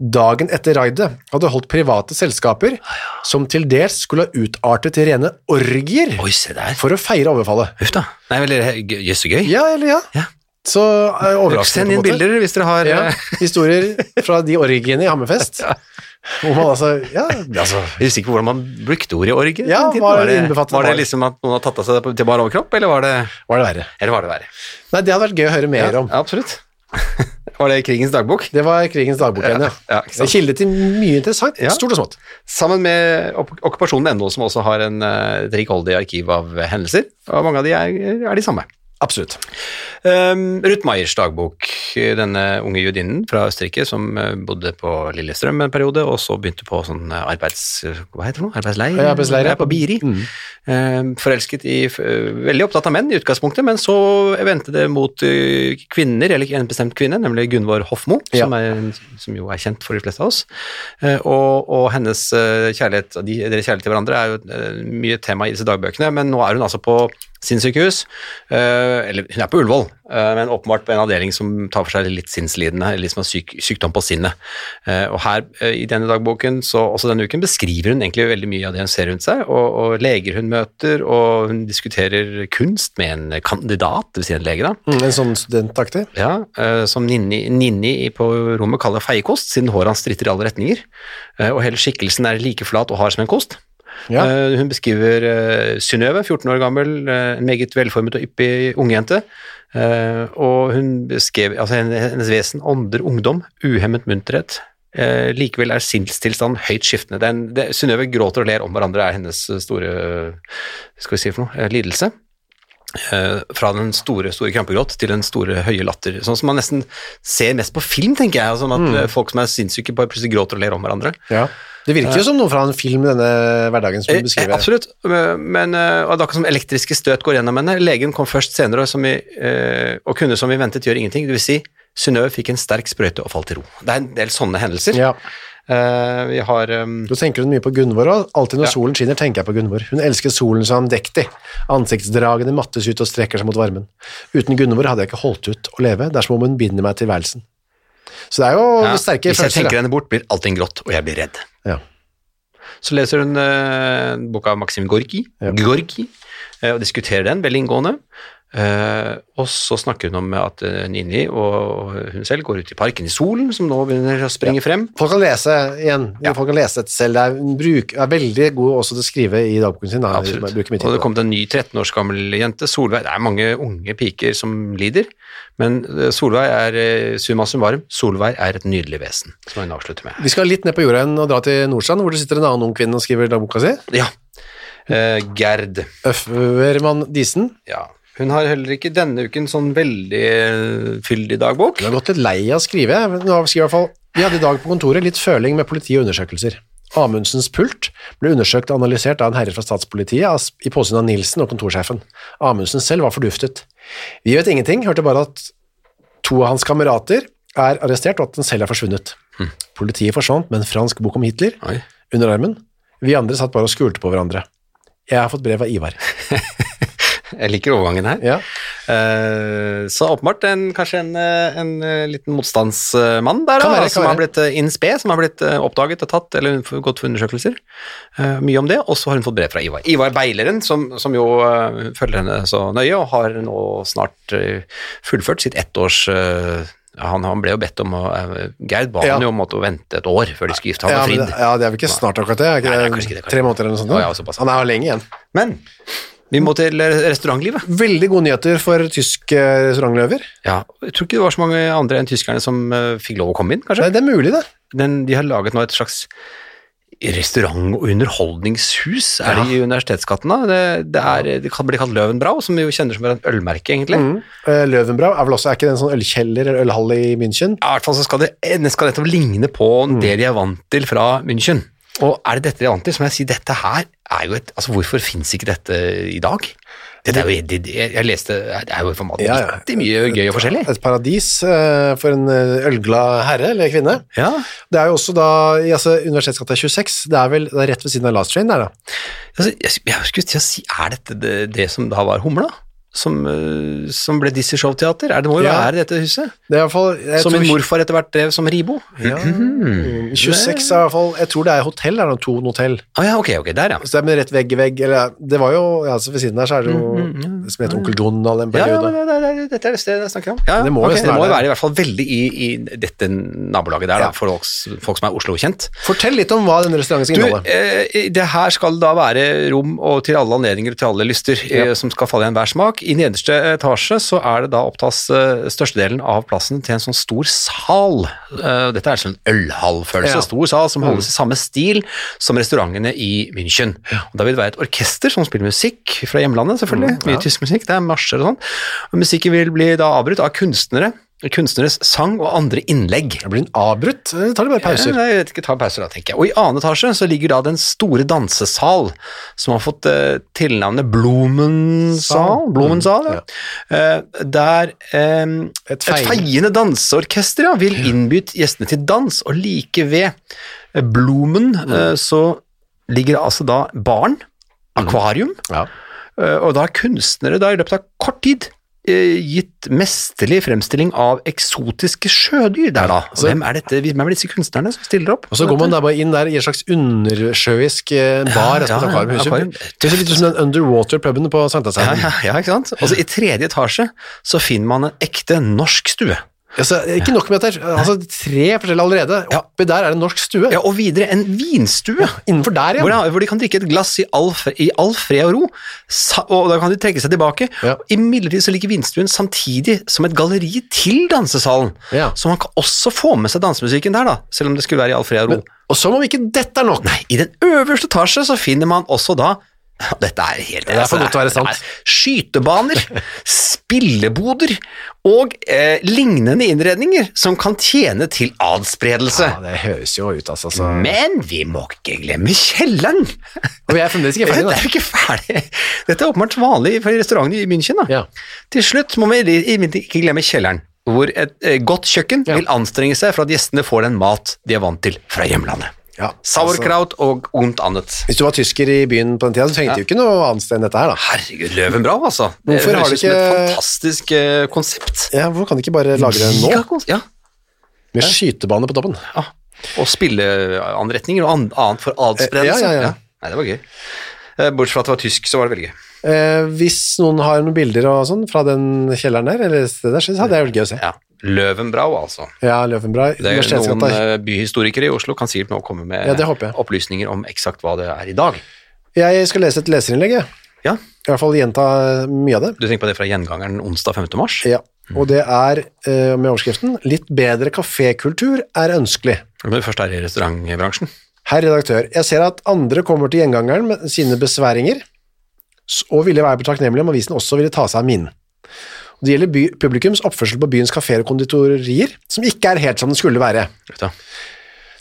Speaker 1: dagen etter raidet hadde holdt private selskaper som til dels skulle ha utartet til rene orgier
Speaker 2: Oi, se der.
Speaker 1: for å feire overfallet.
Speaker 2: Uff da. Nei, vel, gøy- jøss, så gøy.
Speaker 1: Ja, eller ja.
Speaker 2: Ja.
Speaker 1: Så eh,
Speaker 2: Send
Speaker 1: overraskende
Speaker 2: inn
Speaker 1: på en måte.
Speaker 2: bilder hvis dere har
Speaker 1: Ja,
Speaker 2: eh,
Speaker 1: (laughs) historier fra de orgiene i Hammerfest.
Speaker 2: (laughs) Ja.
Speaker 1: Hvor man altså,
Speaker 2: (laughs)
Speaker 1: ja, altså,
Speaker 2: Jeg husker ikke hvordan man brukte ordet orgie.
Speaker 1: Ja,
Speaker 2: den tiden.
Speaker 1: hva
Speaker 2: var, det,
Speaker 1: innbefattet
Speaker 2: var
Speaker 1: var
Speaker 2: det
Speaker 1: det?
Speaker 2: liksom at noen har tatt av seg det på- til bar overkropp, eller var det,
Speaker 1: var det verre.
Speaker 2: eller var det verre?
Speaker 1: Nei, det hadde vært gøy å høre mer
Speaker 2: Ja,
Speaker 1: om.
Speaker 2: absolutt. (laughs) Var det krigens dagbok?
Speaker 1: Det var krigens dagbok igjen, ja.
Speaker 2: Ja,
Speaker 1: Det
Speaker 2: ikke
Speaker 1: er
Speaker 2: sant.
Speaker 1: kilde til mye interessant,
Speaker 2: Ja.
Speaker 1: stort og smått.
Speaker 2: Sammen med opp- okkupasjonen.no, som også har en, eh, et rikholdig arkiv av eh, hendelser, og mange av de er, er de samme.
Speaker 1: Absolutt.
Speaker 2: Um, Ruth Meyers dagbok, denne unge judinnen fra Østerrike som eh, bodde på Lillestrøm en periode, og så begynte på sånn eh, arbeids... Hva heter det? nå? Arbeidsleir?
Speaker 1: Ja, arbeidsleir, ja. Mm.
Speaker 2: Ja, På Biri. Eh, forelsket i f- eh, Veldig opptatt av menn i utgangspunktet, men så vendte det mot eh, kvinner, eller en bestemt kvinne, nemlig Gunvor Hofmo,
Speaker 1: Ja.
Speaker 2: som, er, en- som jo er kjent for de fleste av oss. Eh, og, og hennes eh, kjærlighet, de, deres kjærlighet til hverandre er jo eh, mye tema i disse dagbøkene, men nå er hun altså på sinnssykehus, eh, eller hun er på Ullevål, eh, men åpenbart på en avdeling som tar for seg litt sinnslidende, eller de som har syk, sykdom på sinnet. Eh, og her eh, i denne dagboken, så også denne uken, beskriver hun egentlig veldig mye av det hun ser rundt seg, og, og leger hun møter, og hun diskuterer kunst med en kandidat, det vil si en lege da,
Speaker 1: Mm, en sånn studentaktig.
Speaker 2: ja, eh, som Ninni, Ninni på rommet kaller feiekost, siden håret hans stritter i alle retninger, eh, og hele skikkelsen er like flat og hard som en kost.
Speaker 1: Ja.
Speaker 2: Eh, hun beskriver eh, Synnøve, 14 år gammel, eh, en meget velformet og yppig ungjente, eh, og hun beskrev altså, hennes, hennes vesen ånder ungdom, uhemmet munterhet. Eh, likevel er sinnstilstanden høyt skiftende. Den, det, Synnøve gråter og ler om hverandre, er hennes store eh, skal vi si for noe, eh, lidelse eh, fra den store store krampegråt til den store høye latter. Sånn som man nesten ser mest på film, tenker jeg. Sånn at eh, folk som er sinnssyke, bare plutselig gråter og ler om hverandre.
Speaker 1: Ja. Det virker jo som noe fra en film denne hverdagen som
Speaker 2: Eh,
Speaker 1: du
Speaker 2: eh,
Speaker 1: beskriver.
Speaker 2: absolutt. Men, men eh, og det er akkurat som elektriske støt går gjennom henne. Legen kom først senere som vi, eh, og kunne som vi ventet gjøre ingenting. Det vil si, Synnøve fikk en sterk sprøyte og falt til ro. Det er en del sånne hendelser.
Speaker 1: Ja.
Speaker 2: Eh, vi har eh,
Speaker 1: Da tenker hun mye på Gunvor, og alltid når solen skinner tenker jeg på Gunvor. Hun elsker solen som andektig. Ansiktsdragene mattes ut og strekker seg mot varmen. Uten Gunvor hadde jeg ikke holdt ut å leve, det er som om hun binder meg til værelsen. Så det er jo
Speaker 2: ja,
Speaker 1: sterke
Speaker 2: Hvis jeg
Speaker 1: følelser.
Speaker 2: tenker henne bort, blir allting grått, og jeg blir redd.
Speaker 1: da. Ja.
Speaker 2: Så leser hun eh, boka av Maxim Gorki,
Speaker 1: Ja.
Speaker 2: Gorki eh, og diskuterer den veldig inngående. Eh, og så snakker hun om at eh, Nini og hun selv går ut i parken i solen, som nå begynner å springe frem.
Speaker 1: Folk kan lese igjen, folk kan lese dette selv. Det er, hun bruk, er veldig god også til å skrive i dagboken sin. Da.
Speaker 2: Absolutt.
Speaker 1: Bruker mye
Speaker 2: Og
Speaker 1: tid
Speaker 2: det
Speaker 1: på.
Speaker 2: kom til en ny 13 års gammel jente, Solveig. Det er mange unge piker som lider, men eh, Solveig er eh, summa summarum. Solveig er et nydelig vesen, som hun avslutter med.
Speaker 1: Vi skal litt ned på jorda igjen og dra til Nordstrand, hvor det sitter en annen ung kvinne og skriver dagboka si.
Speaker 2: Ja. Eh, Gerd.
Speaker 1: Øfvermann Disen.
Speaker 2: Ja. Hun har heller ikke denne uken sånn veldig eh, fyldig dagbok.
Speaker 1: Hun har gått litt lei av å skrive. men Hun har- skriver i hvert fall Vi hadde i dag på kontoret litt føling med politi og undersøkelser. Amundsens pult ble undersøkt og analysert av en herre fra statspolitiet as- i påsyn av Nilsen og kontorsjefen. Amundsen selv var forduftet. Vi vet ingenting, hørte bare at to av hans kamerater er arrestert og at han selv er forsvunnet. Politiet forsvant med en fransk bok om Hitler
Speaker 2: Hm. Oi.
Speaker 1: under armen. Vi andre satt bare og skulte på hverandre. Jeg har fått brev av
Speaker 2: (laughs)
Speaker 1: Ivar.
Speaker 2: Jeg liker overgangen her.
Speaker 1: Ja.
Speaker 2: Eh, så åpenbart en, kanskje en, eh, en eh, liten motstandsmann der, da,
Speaker 1: Kan være, kan
Speaker 2: som har
Speaker 1: være.
Speaker 2: blitt eh, in spe, som har blitt eh, oppdaget og tatt, eller hun har gått for undersøkelser. Eh, mye om det, og så har hun fått brev fra Ivar. Ivar Beileren, som, som jo eh, følger henne så nøye, og har nå snart eh, fullført sitt ettårs eh, han, han ble jo bedt om å eh, Gerd ba
Speaker 1: Ja.
Speaker 2: han jo om å måtte vente et år før de skulle gifte han
Speaker 1: Ja, men,
Speaker 2: og Frid.
Speaker 1: det- ja, det er vel ikke snart akkurat det? Er ikke
Speaker 2: Nei, det er
Speaker 1: det
Speaker 2: kanskje ikke det, kanskje.
Speaker 1: Tre måneder eller noe sånt?
Speaker 2: Å,
Speaker 1: da?
Speaker 2: ja, såpass.
Speaker 1: Han er jo lenge igjen.
Speaker 2: Men vi må til eh, restaurantlivet.
Speaker 1: Veldig gode nyheter for tysk eh, restaurantløver.
Speaker 2: Ja, jeg tror ikke det var så mange andre enn tyskerne som eh, fikk lov å komme inn, kanskje.
Speaker 1: Nei, det er mulig, det.
Speaker 2: Den, de har laget nå et slags restaurant- og underholdningshus er det i Universitetsgaten. da. Det, det, er, det kan bli kalt Løvenbrau, som vi jo kjenner som et ølmerke, egentlig.
Speaker 1: Eh, Løvenbrau er vel også er ikke det en sånn ølkjeller eller ølhall i München?
Speaker 2: Ja, I hvert fall så skal det eh, det skal nettopp ligne på
Speaker 1: Mm.
Speaker 2: det de er vant til fra München. Og er det dette de er vant til, så må jeg si dette her er jo et Altså, hvorfor fins ikke dette i dag? Dette er jo, det, det- jeg, jeg leste Det er jo for maten
Speaker 1: Ja, ja.
Speaker 2: vanvittig mye gøy og forskjellig.
Speaker 1: Et paradis eh, for en eh, ølglad herre eller kvinne.
Speaker 2: Ja.
Speaker 1: Det er jo også da i altså, Universitetsgata 26, det er vel det er rett ved siden av Last Train der, da.
Speaker 2: Altså, jeg, jeg skulle til å si, er dette det, det som da var Humla? Som, eh, som ble Dizzie Showteater? Er Det må jo
Speaker 1: Ja.
Speaker 2: være dette huset?
Speaker 1: Det er i hvert fall jeg
Speaker 2: Som
Speaker 1: tror-
Speaker 2: min morfar etter hvert drev som Ribo?
Speaker 1: Ja, mm, 26 er i hvert fall Jeg tror det er hotell, er det to hotell.
Speaker 2: Å Ah, ja, ok, ok, der ja.
Speaker 1: Så det er med rett vegg i vegg, eller Det var jo ja, så Ved siden der så er det jo det som heter Onkel Donald en
Speaker 2: Mm, Ja, ja,
Speaker 1: periode.
Speaker 2: men det, det, det, dette er det stedet jeg snakker om. Ja, ja,
Speaker 1: Det må
Speaker 2: ok,
Speaker 1: jo snart
Speaker 2: det må jo
Speaker 1: være.
Speaker 2: være i hvert fall veldig i, i dette nabolaget der, da, for folk, folk som er Oslo-kjent.
Speaker 1: Fortell litt om hva denne restauranten skal
Speaker 2: Du,
Speaker 1: inneholde.
Speaker 2: eh, det her skal da være rom og til alle anledninger og til alle lyster eh, som skal falle i enhver smak. I nederste etasje så er det da opptas eh, størstedelen av plassen til en sånn stor sal. Eh, dette er en sånn ølhallfølelse.
Speaker 1: Ja.
Speaker 2: Stor sal som holdes i samme stil som restaurantene i München. Og da vil det være et orkester som spiller musikk fra hjemlandet, selvfølgelig. Mye tysk musikk, det er marsjer og sånn. Og Musikken vil bli da avbrutt av kunstnere, kunstneres sang og andre innlegg.
Speaker 1: Det blir en avbrutt. eller Tar de bare pauser?
Speaker 2: Nei, jeg vet ikke, ta pauser da, tenker jeg. Og i annen etasje så ligger da den store dansesal, som har fått eh, tilnavnet Blomensal,
Speaker 1: Sal.
Speaker 2: Blomensal ja. Eh, der eh, et,
Speaker 1: feil-
Speaker 2: feiende danseorkester ja, vil innbyde gjestene til dans, og like ved eh, Blomen eh, så ligger det altså da barn, akvarium,
Speaker 1: Ja.
Speaker 2: Eh, Og da har kunstnere da i løpet av kort tid eh, gitt mesterlig fremstilling av eksotiske sjødyr der, da. Og
Speaker 1: Så-
Speaker 2: hvem, er dette, hvem er disse kunstnerne som stiller opp?
Speaker 1: Og så går man da bare inn der i en slags undersjøisk eh, bar. Ja,
Speaker 2: Ja, ja,
Speaker 1: akvarium,
Speaker 2: akvarium.
Speaker 1: huset. Det ser litt ut som den underwater-puben på
Speaker 2: ja,
Speaker 1: Sankthanshaugen.
Speaker 2: ja, ja, ikke sant? Og så i tredje etasje så finner man en ekte norsk stue.
Speaker 1: Altså, ikke nok med at det er altså, tre forskjellige allerede. Oppi der er det en norsk stue.
Speaker 2: Ja, og videre en vinstue.
Speaker 1: Innenfor der,
Speaker 2: Hvor,
Speaker 1: ja.
Speaker 2: da- hvor de kan drikke et glass i all, fre- i all fred og ro, sa, og da kan de trekke seg tilbake.
Speaker 1: Ja.
Speaker 2: Imidlertid så ligger vinstuen samtidig som et galleri til dansesalen,
Speaker 1: Ja.
Speaker 2: så man kan også få med seg dansemusikken der, da, selv om det skulle være i all fred og ro.
Speaker 1: Og som om ikke dette er nok.
Speaker 2: Nei, i den øverste etasje så finner man også da (laughs) dette er helt altså,
Speaker 1: er for godt til å være sant.
Speaker 2: det er
Speaker 1: (laughs)
Speaker 2: Skytebaner, spilleboder og eh, lignende innredninger som kan tjene til adspredelse.
Speaker 1: Ja, det høres jo ut, altså. Så.
Speaker 2: Men vi må ikke glemme kjelleren!
Speaker 1: Og vi er fremdeles ikke
Speaker 2: (laughs) Det
Speaker 1: ferdige,
Speaker 2: er jo ikke ferdig. Dette er åpenbart vanlig for restaurantene i München. Da.
Speaker 1: da. Ja.
Speaker 2: Til slutt må vi imidlertid ikke glemme kjelleren, hvor et eh, godt kjøkken
Speaker 1: Ja.
Speaker 2: vil anstrenge seg for at gjestene får den mat de er vant til fra hjemlandet.
Speaker 1: Ja, altså,
Speaker 2: Sauerkraut og ondt annet.
Speaker 1: Hvis du var tysker i byen på den tida, så trengte du ikke noe annet sted enn dette her, da.
Speaker 2: Herregud, Løvenbrau, altså. Det
Speaker 1: Hvorfor har
Speaker 2: høres
Speaker 1: de
Speaker 2: ut som et
Speaker 1: ikke-
Speaker 2: fantastisk eh, konsept.
Speaker 1: Ja, Hvorfor kan de ikke bare lage det nå?
Speaker 2: Gigakons- Ja,
Speaker 1: Med skytebane på toppen.
Speaker 2: ja. Og spilleanretninger og an- annet for adspredelse.
Speaker 1: Ja, ja, ja.
Speaker 2: Eh, Nei, det var gøy. Eh, Bortsett fra at det var tysk, så var det veldig gøy.
Speaker 1: Eh, hvis noen har noen bilder og sånn fra den kjelleren der, eller stedet der, så hadde jeg vært gøy å se.
Speaker 2: Ja. Løvenbrau, altså.
Speaker 1: Ja, Løvenbra,
Speaker 2: Det er noen
Speaker 1: Universitetsgata.
Speaker 2: eh, byhistorikere i Oslo kan sikkert nå komme med
Speaker 1: Ja, det håper jeg.
Speaker 2: opplysninger om eksakt hva det er i dag.
Speaker 1: Jeg skal lese et leserinnlegg, jeg.
Speaker 2: Ja,
Speaker 1: I hvert fall gjenta mye av det.
Speaker 2: Du tenker på det fra Gjengangeren onsdag 5. mars?
Speaker 1: Ja. Og det er, eh, med overskriften, litt bedre kafékultur er ønskelig.
Speaker 2: Når du først er i restaurantbransjen.
Speaker 1: Herr redaktør, jeg ser at andre kommer til gjengangeren med sine besværinger, s- og ville være betakknemlig om avisen også ville ta seg av mine. Og Det gjelder by, publikums oppførsel på byens kaféer og konditorier, som ikke er helt som den skulle være.
Speaker 2: Vet du.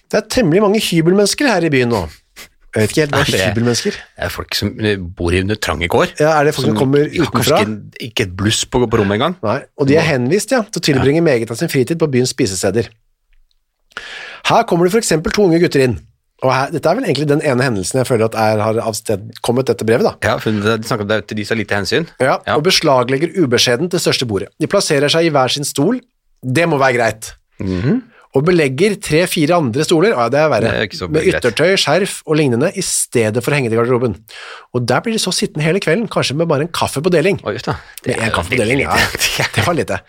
Speaker 1: Det er temmelig mange hybelmennesker her i byen nå. Jeg vet ikke helt hva
Speaker 2: Er det-
Speaker 1: hybelmennesker.
Speaker 2: Det er folk som eh, bor i under trange kår.
Speaker 1: Ja, er det folk som kommer
Speaker 2: Ja,
Speaker 1: utenfra?
Speaker 2: Kanskje ikke, ikke et bluss på, på rommet engang.
Speaker 1: Nei, og de er henvist ja, til å tilbringe meget av sin fritid på byens spisesteder. Her kommer det for eksempel to unge gutter inn, og her, dette er vel egentlig den ene hendelsen jeg føler at er, har avstedkommet dette brevet da.
Speaker 2: Ja, for de snakker om det er til de som har lite hensyn.
Speaker 1: Ja,
Speaker 2: Ja.
Speaker 1: og beslaglegger ubeskjeden det største bordet. De plasserer seg i hver sin stol, det må være greit. Og belegger tre-fire andre stoler, ja, det er verre,
Speaker 2: Mhm. Det er ikke så
Speaker 1: med
Speaker 2: greit.
Speaker 1: yttertøy, skjerf og lignende, i stedet for å henge det i garderoben. Og der blir de så sittende hele kvelden, kanskje med bare en kaffe på deling.
Speaker 2: Oi, uff da.
Speaker 1: Med en kaffe på deling, ja.
Speaker 2: Ja.
Speaker 1: Det var lite.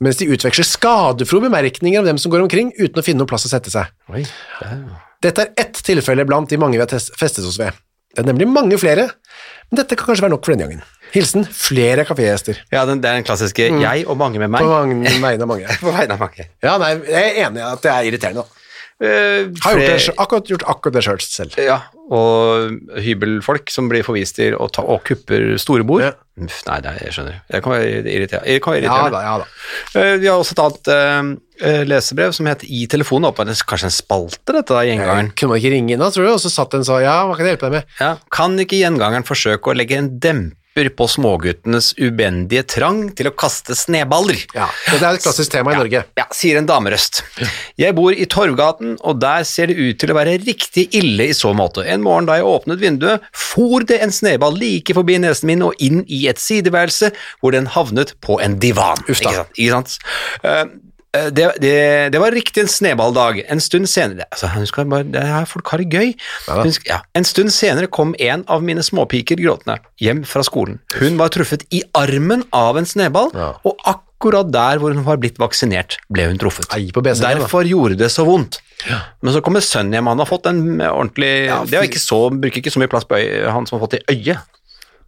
Speaker 1: Mens de utveksler skadefro bemerkninger om dem som går omkring, uten å finne noen plass å sette seg.
Speaker 2: Oi, det er jo-
Speaker 1: Dette er ett tilfelle blant de mange vi har test- festet oss ved. Det er nemlig mange flere, men dette kan kanskje være nok for denne gangen. Hilsen flere kafégjester.
Speaker 2: ja, den, det er den klassiske 'jeg og mange med meg'.
Speaker 1: På mange- vegne av mange.
Speaker 2: På vegne av mange.
Speaker 1: Ja, nei, jeg er enig i at det er irriterende. da.
Speaker 2: Eh,
Speaker 1: Har gjort det,
Speaker 2: flere-
Speaker 1: selv- akkurat, gjort akkurat det selv selv.
Speaker 2: Ja, og hybelfolk som blir forvist til å ta, og kupper store bord.
Speaker 1: Ja.
Speaker 2: Uff, nei, det er, jeg skjønner. Det kan være irriterende. Det kan være
Speaker 1: Ja
Speaker 2: irriterende.
Speaker 1: da, ja da.
Speaker 2: Eh, Vi har også et annet eh, eh, lesebrev som heter I telefonen. Oppe, det er kanskje en spalte, dette, da, gjengangeren.
Speaker 1: Kunne man ikke ringe inn da, tror du? Og så satt en og sa, ja, hva kan jeg hjelpe deg med?
Speaker 2: Ja. Kan ikke gjengangeren forsøke å legge en demper på småguttenes ubendige trang til å kaste sneballer?
Speaker 1: Ja, det er et klassisk tema i Norge.
Speaker 2: Ja, sier en damerøst. Jeg bor i Torvgaten, og der ser det ut til å være riktig ille i så måte. En morgen da jeg åpnet vinduet, for det en sneball like forbi nesen min og inn i et sideværelse, hvor den havnet på en divan.
Speaker 1: Uff da.
Speaker 2: Ikke sant? Ikke sant? Eh, eh, det, det, det var riktig en sneballdag. En stund senere altså, hun skal bare, det her Folk har det gøy.
Speaker 1: da.
Speaker 2: Hun skal, ja. En stund senere kom en av mine småpiker gråtende hjem fra skolen. Hun var truffet i armen av en sneball,
Speaker 1: Ja.
Speaker 2: og akkurat der hvor hun var blitt vaksinert, ble hun truffet.
Speaker 1: Nei, på BC, da.
Speaker 2: Derfor gjorde det så vondt. Men så kommer sønnen hjem, han har fått en ordentlig
Speaker 1: Ja,
Speaker 2: Det
Speaker 1: fy-
Speaker 2: er jo ikke så, bruker ikke så mye plass på øy, han som har fått det i øyet.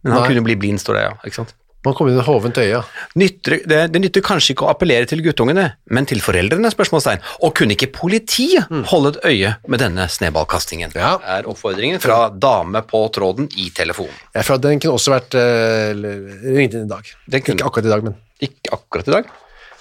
Speaker 2: Men han
Speaker 1: Nei.
Speaker 2: kunne bli blind, står det, ja. Ikke sant?
Speaker 1: Man kom inn i hovent øye.
Speaker 2: Nytter, det, det nytter kanskje ikke å appellere til guttungene, men til foreldrene? spørsmålstegn. Og kunne ikke politiet holde et øye med denne sneballkastingen?
Speaker 1: Mm. Ja.
Speaker 2: Er oppfordringen fra dame på tråden i telefonen.
Speaker 1: Jeg føler at den kunne også vært eh, ringt inn i dag.
Speaker 2: Den kunne-
Speaker 1: Ikke akkurat i dag, men.
Speaker 2: Ikke akkurat i dag.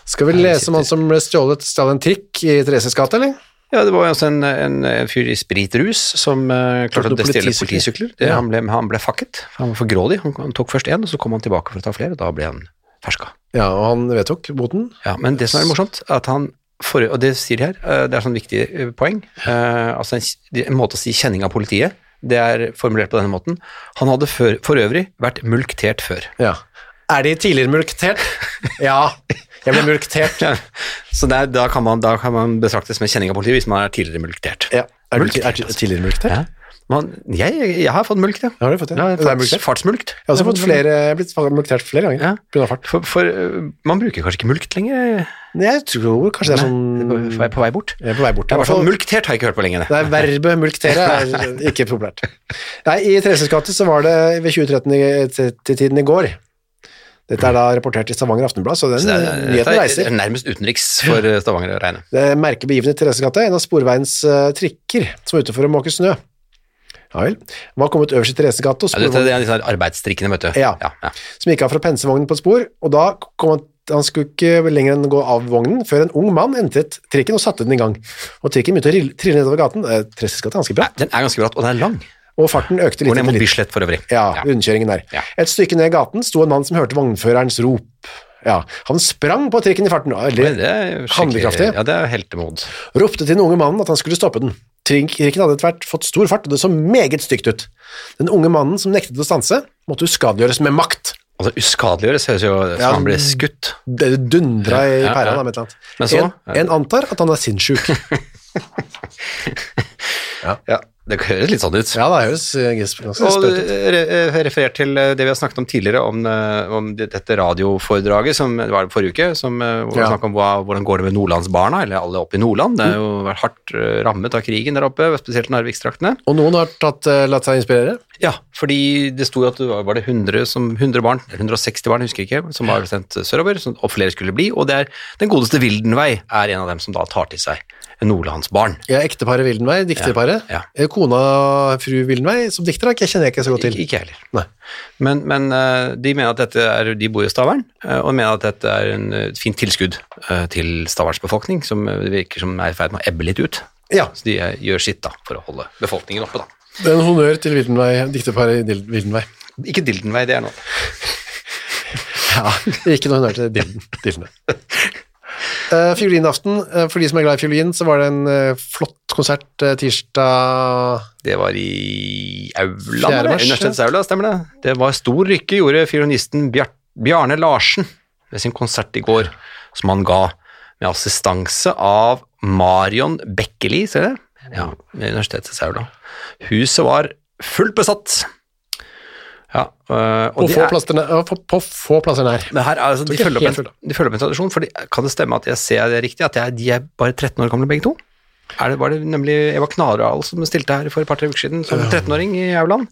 Speaker 1: Skal vi lese om han som ble stjålet, stjal en trikk i Thereses gate, eller?
Speaker 2: Ja, det var jo også en, en, en fyr i spritrus som eh, klarte å
Speaker 1: Klarte å
Speaker 2: stjele
Speaker 1: politisykler.
Speaker 2: politisykler. Det,
Speaker 1: Ja.
Speaker 2: han, ble, han ble fakket, for han var for grådig. Han, han tok først én, og så kom han tilbake for å ta flere, og da ble han ferska.
Speaker 1: Ja, og han vedtok boten.
Speaker 2: Ja, men det som er morsomt, er at han for, og det sier de her, eh, det er sånn viktig eh, poeng, eh, altså en, k- en måte å si kjenning av politiet, det er formulert på denne måten. Han hadde for, for øvrig vært mulktert før.
Speaker 1: Ja. Er de tidligere mulktert? ja, jeg ble mulktert.
Speaker 2: Så der, da, kan man, da kan man betraktes med kjenning av politiet hvis man er tidligere mulktert.
Speaker 1: Ja. Er du ti- er
Speaker 2: Mulktert,
Speaker 1: ti-
Speaker 2: altså.
Speaker 1: tidligere mulktert?
Speaker 2: Ja. Man, jeg, jeg har fått mulkt, ja.
Speaker 1: Har du fått det?
Speaker 2: Ja, jeg
Speaker 1: Det er
Speaker 2: har
Speaker 1: mulktert.
Speaker 2: fått fartsmulkt.
Speaker 1: Jeg har også fått flere, jeg har blitt mulktert flere ganger.
Speaker 2: Ja.
Speaker 1: På grunn av fart.
Speaker 2: For, for eh, man bruker kanskje ikke mulkt lenger
Speaker 1: Nei, jeg tror kanskje det er
Speaker 2: Nei, på,
Speaker 1: sånn...
Speaker 2: på vei- på vei bort.
Speaker 1: Jeg er på vei bort.
Speaker 2: Ja, i hvert fall
Speaker 1: Nei,
Speaker 2: mulktert har jeg ikke hørt på lenge. Det.
Speaker 1: verbet mulktere er
Speaker 2: (laughs)
Speaker 1: ikke populært. Nei, i Thereses gate så var det ved 2013 i- til til tiden i går. Dette er da rapportert i Stavanger Aftenblad, så den
Speaker 2: Så det,
Speaker 1: eh,
Speaker 2: er-
Speaker 1: nyheten
Speaker 2: dette
Speaker 1: reiser.
Speaker 2: er nærmest utenriks for eh, Stavanger å regne.
Speaker 1: Det er merkebegivenhet i Thereses gate, en av sporveiens eh, trikker som er ute for å måke snø. Ja vel. Hva kommet øverst i Thereses gate? og
Speaker 2: Ja, dette,
Speaker 1: sporvogn-
Speaker 2: det er disse arbeidstrikkene, vet du.
Speaker 1: Ja.
Speaker 2: Ja, ja.
Speaker 1: som gikk av fra pensevognen på et spor, og da kom han han skulle ikke lenger enn gå av vognen før en ung mann entret trikken og satte den i gang. Og trikken begynte å rille- trille nedover gaten, eh, Tresses gate er ganske
Speaker 2: Nei,
Speaker 1: bratt,
Speaker 2: Den er ganske bratt, og den er lang.
Speaker 1: og farten økte litt
Speaker 2: Går ned
Speaker 1: etter
Speaker 2: mot
Speaker 1: litt.
Speaker 2: Bislett for øvrig.
Speaker 1: Ja,
Speaker 2: Ja.
Speaker 1: rundkjøringen der.
Speaker 2: Ja.
Speaker 1: Et stykke ned gaten sto en mann som hørte vognførerens rop. Ja, han sprang på trikken i farten, og
Speaker 2: Men
Speaker 1: eller
Speaker 2: Det er jo skikkelig-
Speaker 1: Handlekraftig.
Speaker 2: Ja, det er heltemod.
Speaker 1: ropte til den unge mannen at han skulle stoppe den. Trikken hadde etter hvert fått stor fart, og det så meget stygt ut. Den unge mannen som nektet å stanse, måtte uskadeliggjøres med makt.
Speaker 2: Altså, uskadeliggjøres høres jo ut
Speaker 1: Ja.
Speaker 2: som han blir skutt.
Speaker 1: Det dundra i
Speaker 2: Ja, ja,
Speaker 1: pæra
Speaker 2: ja.
Speaker 1: da, med et eller annet.
Speaker 2: Men så- (laughs)
Speaker 1: en, en antar at han er sinnssyk.
Speaker 2: Ja. Det høres litt sånn ut.
Speaker 1: Ja, det høres eh, ganske ganske
Speaker 2: Og
Speaker 1: sprøtt ut.
Speaker 2: re- referert til eh, det vi har snakket om tidligere, om, eh, om det- dette radioforedraget som det var forrige uke, som, eh, hvor vi
Speaker 1: Ja.
Speaker 2: snakket om hva, hvordan går det med nordlandsbarna, eller alle oppe i Nordland. Det har jo vært hardt eh, rammet av krigen der oppe, spesielt Narvikstraktene.
Speaker 1: Og noen har tatt, eh, latt seg inspirere.
Speaker 2: Ja, fordi det sto jo at det var, var det 100, som, 100 barn, eller 160 barn, husker jeg ikke, som var sendt sørover, som, og flere skulle bli, og det er Den godeste Vildenvei er en av dem som da tar til seg nordlandsbarn.
Speaker 1: Ja, ekteparet Wildenvei, dikterparet.
Speaker 2: Ja,
Speaker 1: Eh, Kona fru Wildenvei, som dikter, da, ikke- kjenner jeg ikke så godt
Speaker 2: Ikke,
Speaker 1: til.
Speaker 2: ikke jeg heller.
Speaker 1: Nei.
Speaker 2: Men, men eh, de mener at dette er, de bor i Stavern, eh, og mener at dette er en, eh, et fint tilskudd eh, til Staverns befolkning, som eh, det virker som er i ferd med å ebbe litt ut.
Speaker 1: Ja,
Speaker 2: Så de eh, gjør sitt da, for å holde befolkningen oppe. da.
Speaker 1: det er en honnør til Wildenvei, dikterparet Dil- Wildenvei.
Speaker 2: Ikke Dildenvei, det er nå.
Speaker 1: Ja, (laughs) ikke noe honnør til Dilden. Dildene. Eh, fiolinaften, eh, for de som er glad i fiolin, så var det en eh, flott konsert eh, tirsdag
Speaker 2: Det var i
Speaker 1: Fjerde
Speaker 2: aulaen, eller?
Speaker 1: mars, ja.
Speaker 2: universitetsaula, stemmer det? Det var stor rykke, gjorde fiolinisten Bjar Bjarne Larsen ved sin konsert i går, som han ga med assistanse av Marion Bekkeli, ser dere? Ja, ved universitetsaula. Huset var fullt besatt. Ja, øh,
Speaker 1: på,
Speaker 2: det
Speaker 1: få
Speaker 2: er-
Speaker 1: plasser nær, ja, på, på få plasser nær.
Speaker 2: men her, er altså, de,
Speaker 1: Tror ikke
Speaker 2: følger
Speaker 1: helt
Speaker 2: opp en, de følger opp en tradisjon, for kan det stemme at jeg ser det riktig, at jeg, de er bare 13 år gamle begge to? Er det, var det nemlig Eva Knarral som stilte her for et par-tre uker siden som 13-åring i Auland?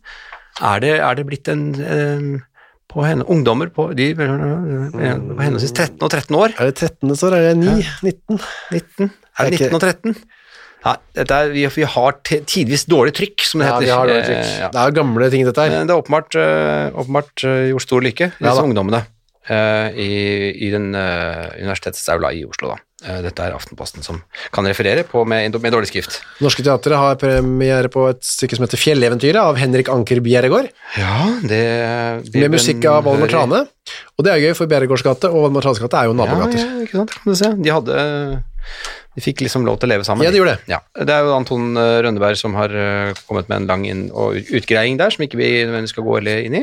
Speaker 2: Er det, er det blitt en eh, på henne, Ungdommer på, de, på henholdsvis 13 og 13 år?
Speaker 1: Er det 13. så er det 9, 19.
Speaker 2: 19? Er det
Speaker 1: Det er
Speaker 2: 19 og 13? Nei, dette er, vi, vi har te- tidvis dårlig trykk, som det
Speaker 1: Ja,
Speaker 2: heter.
Speaker 1: de har dårlig trykk.
Speaker 2: Eh, ja.
Speaker 1: Det er jo gamle ting dette her.
Speaker 2: Men det har åpenbart, eh, åpenbart eh, gjort stor lykke, disse
Speaker 1: da.
Speaker 2: ungdommene, eh, i, i den eh, universitetsaula i Oslo. Da. Eh, Dette er Aftenposten som kan referere på med, med dårlig skrift.
Speaker 1: Norske teatret har premiere på et stykke som heter Fjelleventyret av Henrik Anker Bjerregård,
Speaker 2: Ja, det, eh, det
Speaker 1: med musikk av Valmar Trane. Og det er jo gøy, for Bjerregårds gate og Valmar Tranes gate er jo
Speaker 2: Ja,
Speaker 1: nabogater.
Speaker 2: ja, ikke sant, kan du se. De hadde De fikk liksom lov til å leve sammen.
Speaker 1: Ja, de gjorde det.
Speaker 2: Ja. Det er jo Anton eh, Rønneberg som har eh, kommet med en lang inn og ut- utgreiing der, som ikke vi nødvendigvis skal gå eller inn i.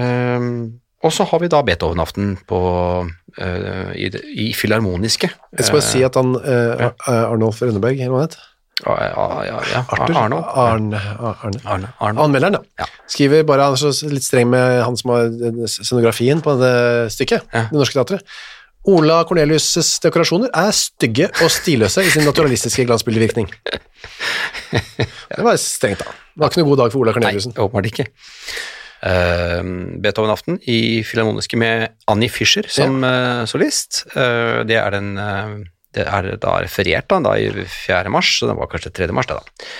Speaker 2: Ehm, og så har vi da Beethoven-aften på eh, i, det- i Filharmoniske.
Speaker 1: Jeg skal bare si at han, eh, Ar- Arnolf Rønneberg, eller hva han het?
Speaker 2: Ja, ja, ja, ja.
Speaker 1: Arthur?
Speaker 2: Arno.
Speaker 1: Arne. Arne.
Speaker 2: Arne. Arno.
Speaker 1: Anmelderen, da.
Speaker 2: Ja.
Speaker 1: Skriver bare han er så litt streng med han som har eh, scenografien på dette stykket,
Speaker 2: Ja.
Speaker 1: Det Norske Teatret. Ola Cornelius' dekorasjoner er stygge og stilløse i sin naturalistiske glansbildevirkning. Det var strengt, da. Det var ikke noen god dag for Ola
Speaker 2: Nei,
Speaker 1: Corneliussen.
Speaker 2: åpenbart ikke. Ehm, Beethoven-aften i Filharmoniske med Annie Fischer som eh, solist. Eh, det er den eh, det er da referert da, da i 4. mars, så det var kanskje 3. mars, det, da.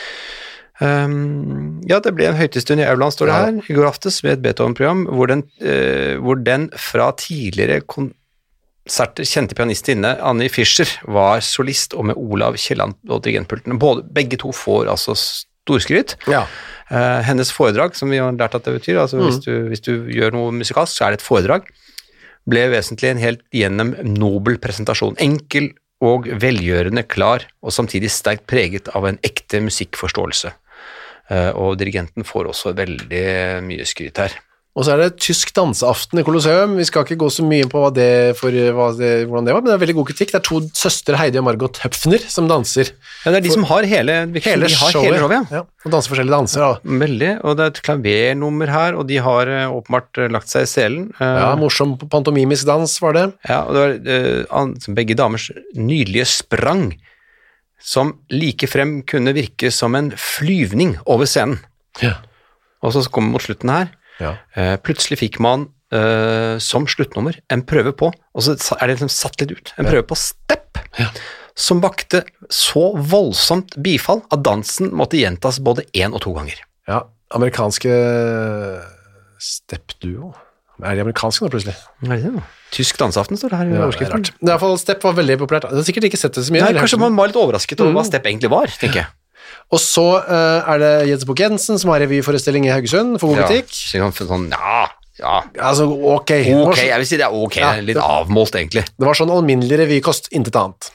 Speaker 2: Ehm, ja, det ble en høytidsstund i Auland, står det
Speaker 1: Ja.
Speaker 2: her, i går aftes ved et Beethoven-program, hvor, den, eh, hvor den fra tidligere konserter kjente pianistinne Annie Fischer var solist, og med Olav Kielland og dirigentpulten. Både, begge to får altså storskryt.
Speaker 1: Ja.
Speaker 2: Eh, hennes foredrag, som vi har lært at det betyr, altså
Speaker 1: Mm.
Speaker 2: hvis, du, hvis du gjør noe musikalsk, så er det et foredrag, ble vesentlig en helt gjennom nobel presentasjon. Enkel og velgjørende klar, og samtidig sterkt preget av en ekte musikkforståelse. Eh, og dirigenten får også veldig mye skryt her.
Speaker 1: Og så er det tysk danseaften i Colosseum. Vi skal ikke gå så mye på hva det for, eh, hva det, hvordan det var, men det er veldig god kritikk. Det er to søstre, Heidi og Margot Høpfner, som danser
Speaker 2: Ja, det er de som har hele,
Speaker 1: hele
Speaker 2: de har
Speaker 1: showet.
Speaker 2: hele showet. Ja.
Speaker 1: Ja, og danser forskjellige danser. Da.
Speaker 2: Veldig, og det er et klavernummer her, og de har eh, åpenbart eh, lagt seg i selen. Eh,
Speaker 1: Ja, morsom pantomimisk dans var det.
Speaker 2: Ja, og det var eh, an- som begge damers nydelige sprang, som likefrem kunne virke som en flyvning over scenen.
Speaker 1: Ja.
Speaker 2: Og så kommer vi mot slutten her.
Speaker 1: Ja.
Speaker 2: Eh, plutselig fikk man eh, som sluttnummer en prøve på, og så sa- er det liksom satt litt ut, en prøve på step, som vakte så voldsomt bifall at dansen måtte gjentas både én og to ganger.
Speaker 1: Ja, amerikanske eh, step-duo. Er de amerikanske nå, plutselig?
Speaker 2: Tysk danseaften står det her i
Speaker 1: Ja, det er
Speaker 2: overskriften.
Speaker 1: rart. Men i hvert fall step var veldig populært. Jeg har sikkert ikke sett det så mye.
Speaker 2: Nei,
Speaker 1: eller
Speaker 2: kanskje
Speaker 1: hørt det.
Speaker 2: man var litt overrasket over hva step egentlig var, tenker jeg.
Speaker 1: Og så eh, er det Jens Bukk Jensen som har revyforestilling i Haugesund for god butikk.
Speaker 2: Ja, så sånn, ja, ja.
Speaker 1: Altså, ok. Det var
Speaker 2: Ok,
Speaker 1: så-
Speaker 2: jeg vil si det er ok.
Speaker 1: Ja,
Speaker 2: litt
Speaker 1: det-
Speaker 2: avmålt, egentlig.
Speaker 1: (laughs) Det var sånn alminnelig revykost, intet annet.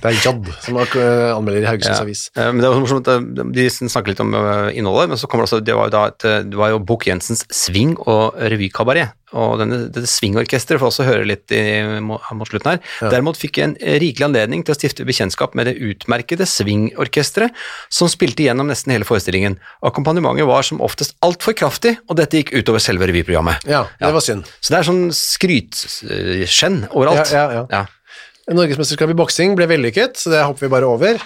Speaker 1: Det er Jad som har, eh, anmelder i Haugesunds Avis.
Speaker 2: Eh, Men det var morsomt, eh, De snakker litt om eh, innholdet, men så kommer det altså, det var jo da et, eh, det var jo Bukk-Jensens Sving og revykabaret. Og denne, dette swingeorkesteret får også høre litt i, må- mot slutten her. Derimot fikk jeg en eh, rikelig anledning til å stifte bekjentskap med det utmerkede swingorkesteret, som spilte gjennom nesten hele forestillingen. Akkompagnementet var som oftest altfor kraftig, og dette gikk utover selve revyprogrammet.
Speaker 1: Ja, det var synd.
Speaker 2: Så det er sånn skrytskjenn overalt.
Speaker 1: Ja, ja,
Speaker 2: ja.
Speaker 1: Norgesmesterskapet i boksing ble vellykket, så det hopper vi bare over.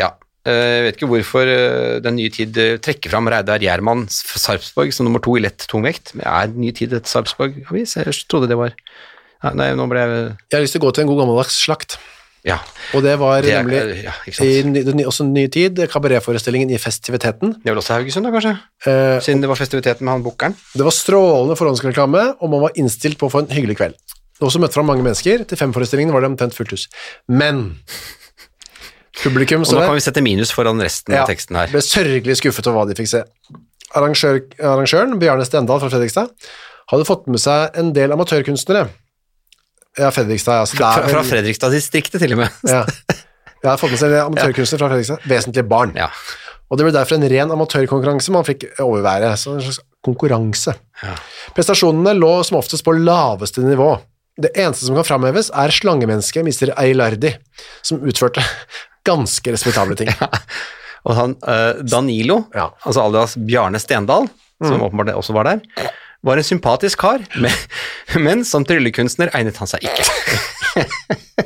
Speaker 2: Ja. Eh, Jeg vet ikke hvorfor eh, Den nye tid eh, trekker fram Reidar Gjermann fra Sarpsborg som nummer to i lett tungvekt. Men er Ny tid et Sarpsborg-avis? Jeg trodde det var ja, Nei, nå ble jeg
Speaker 1: Jeg har lyst til å gå til en god gammeldags slakt.
Speaker 2: Ja.
Speaker 1: Og det var
Speaker 2: Det er-
Speaker 1: nemlig
Speaker 2: ja, ikke sant.
Speaker 1: i ny- den nye- også den nye tid, kabaretforestillingen i festiviteten.
Speaker 2: Det er vel også Haugesund, da, kanskje?
Speaker 1: Eh,
Speaker 2: Siden det var festiviteten med han bukkeren.
Speaker 1: Det var strålende forhåndsreklame, og man var innstilt på å få en hyggelig kveld. Det var også møtt fram mange mennesker. Til femforestillingen var det omtrent fullt hus. Men publikum
Speaker 2: Og
Speaker 1: så
Speaker 2: nå
Speaker 1: der
Speaker 2: kan vi sette minus foran resten av teksten her.
Speaker 1: ble sørgelig skuffet over hva de fikk se. Arrangør, arrangøren, Bjarne Stendal fra Fredrikstad, hadde fått med seg en del amatørkunstnere. Ja, Fredrikstad, ja. Så det
Speaker 2: Fra,
Speaker 1: er
Speaker 2: fra
Speaker 1: vel-
Speaker 2: Fredrikstad-distriktet, til og med.
Speaker 1: Ja. Jeg har fått med seg en del amatørkunstnere fra Fredrikstad. Vesentlige barn.
Speaker 2: Ja.
Speaker 1: Og det ble derfor en ren amatørkonkurranse man fikk overvære. Så en slags konkurranse.
Speaker 2: Ja.
Speaker 1: Prestasjonene lå som oftest på laveste nivå. Det eneste som kan framheves, er slangemennesket Mr. Eilardi, som utførte ganske respektable (laughs) ting.
Speaker 2: Og han eh, Danilo,
Speaker 1: Ja.
Speaker 2: altså alias Bjarne Stendal, som
Speaker 1: Mm.
Speaker 2: åpenbart også var der, var en sympatisk kar, (laughs) men, men som tryllekunstner egnet han seg ikke.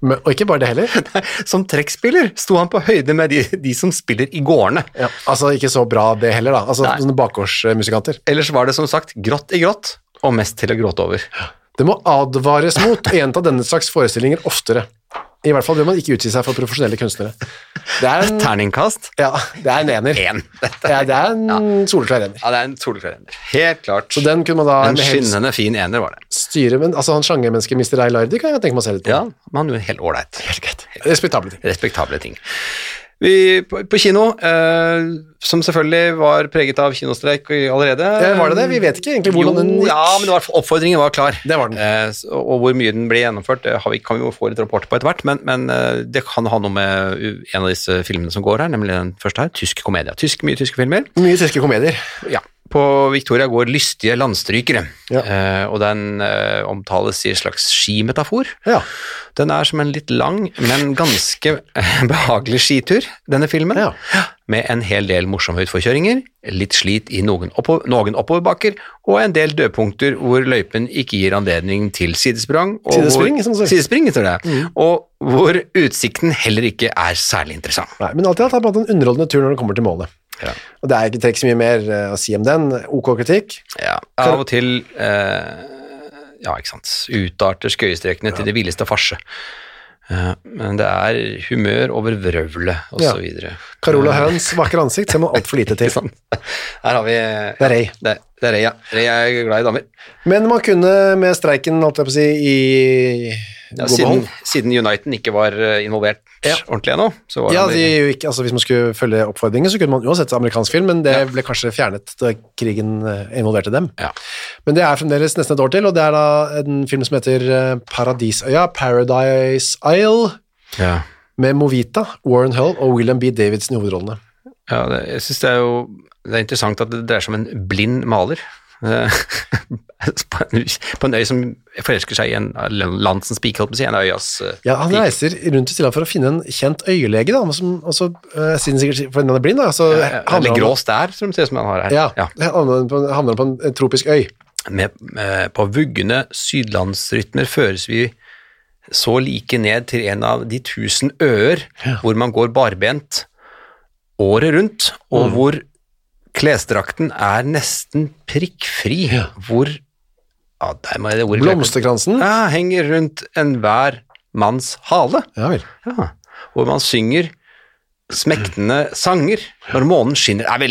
Speaker 1: Men, og ikke bare det heller.
Speaker 2: Som trekkspiller sto han på høyde med de, de som spiller i gårdene.
Speaker 1: Altså, ikke så bra det heller, da. Altså,
Speaker 2: Nei.
Speaker 1: sånne bakgårdsmusikanter.
Speaker 2: Ellers var det som sagt grått i grått, og mest til å gråte over.
Speaker 1: Det må advares mot å gjenta denne slags forestillinger oftere. I hvert fall bør man ikke utgi seg for profesjonelle kunstnere. Det er (laughs) en,
Speaker 2: Terningkast
Speaker 1: ja, det er en ener.
Speaker 2: én.
Speaker 1: Ja, det er en soleklar ener.
Speaker 2: Ja, det er en soleklar ener. Helt klart.
Speaker 1: Så den kunne man da
Speaker 2: en
Speaker 1: med helse-
Speaker 2: skinnende fin ener var det.
Speaker 1: styre, men altså han sjangermenneske Mr. Eilardi kan jeg tenke meg å se litt på.
Speaker 2: Ja, men han gjorde helt ålreit.
Speaker 1: Respektable ting.
Speaker 2: Respektable ting. Vi, på, på kino, eh, som selvfølgelig var preget av kinostreik allerede
Speaker 1: Eh, var det det? Vi vet ikke egentlig hvordan
Speaker 2: jo,
Speaker 1: den gikk.
Speaker 2: Ja, men det var, oppfordringen var klar.
Speaker 1: Det var den.
Speaker 2: Eh, så- og hvor mye den ble gjennomført, det har vi, kan vi jo få litt rapport på etter hvert, men, men eh, det kan ha noe med u- en av disse filmene som går her, nemlig den første her, tysk komedie. Tysk, mye tyske filmer.
Speaker 1: Mye tyske komedier.
Speaker 2: Ja. På Victoria går lystige landstrykere,
Speaker 1: Ja.
Speaker 2: eh, og den eh, omtales i en slags skimetafor.
Speaker 1: Ja.
Speaker 2: Den er som en litt lang, men ganske eh, behagelig skitur, denne filmen.
Speaker 1: Ja.
Speaker 2: Med en hel del morsomme utforkjøringer, litt slit i noen, oppo noen oppoverbakker, og en del dødpunkter hvor løypen ikke gir anledning til sidesprang. Og
Speaker 1: Sidespring,
Speaker 2: hvor,
Speaker 1: som Mm. det heter.
Speaker 2: Sidespring, heter det. Og hvor utsikten heller ikke er særlig interessant.
Speaker 1: Nei, men alt i alt har man hatt en underholdende tur når det kommer til målet.
Speaker 2: Ja.
Speaker 1: Og det er ikke trenger ikke så mye mer eh, å si om den. Ok kritikk.
Speaker 2: Ja, av og til eh, ja, ikke sant, utarter skøyestrekene til det villeste farse. Eh, men det er humør over vrøvlet, og
Speaker 1: Ja.
Speaker 2: så videre.
Speaker 1: Carola Høns vakre ansikt ser man altfor
Speaker 2: (laughs)
Speaker 1: lite til.
Speaker 2: Her har vi
Speaker 1: Det er rei.
Speaker 2: Det, det er Rei, ja. Rei er glad i damer.
Speaker 1: Men man kunne med streiken, holdt jeg på å si, i
Speaker 2: Ja,
Speaker 1: god
Speaker 2: siden,
Speaker 1: behold.
Speaker 2: siden Uniten ikke var eh, involvert
Speaker 1: Ja.
Speaker 2: ordentlig ennå, så var
Speaker 1: Ja,
Speaker 2: han
Speaker 1: de, er jo ikke, altså Hvis man skulle følge oppfordringen, så kunne man uansett se amerikansk film, men det ble kanskje fjernet da krigen eh, involverte dem.
Speaker 2: ja.
Speaker 1: Men det er fremdeles nesten et år til, og det er da en film som heter eh, Paradisøya, Paradise Isle,
Speaker 2: Ja.
Speaker 1: med Movita, Warren Hull og William B. Davidson i hovedrollene.
Speaker 2: ja, det, jeg syns det er jo det er interessant at det dreier seg om en blind maler. Eh, (laughs) på en på en øy som forelsker seg i en landsens pike, holdt på å si. En av øyas eh,
Speaker 1: Ja, Han
Speaker 2: pike.
Speaker 1: reiser rundt i Stillehavet for å finne en kjent øyelege, da, som også, eh, siden sikkert for han er blind, da, så
Speaker 2: Ja, Eh, Eller
Speaker 1: han-
Speaker 2: grå stær, som det ser ut som han har her.
Speaker 1: Ja, Handler, han på, handler han på en, en tropisk øy.
Speaker 2: Med, med, på vuggende sydlandsrytmer føres vi så like ned til en av de tusen øer hvor man går barbent året rundt, og hvor klesdrakten er nesten prikkfri. Hvor ja, der må jeg det ordet glemme.
Speaker 1: Blomsterkransen.
Speaker 2: ja, henger rundt enhver manns hale.
Speaker 1: Ja vel.
Speaker 2: Ja, hvor man synger smektende sanger når månen skinner. Det er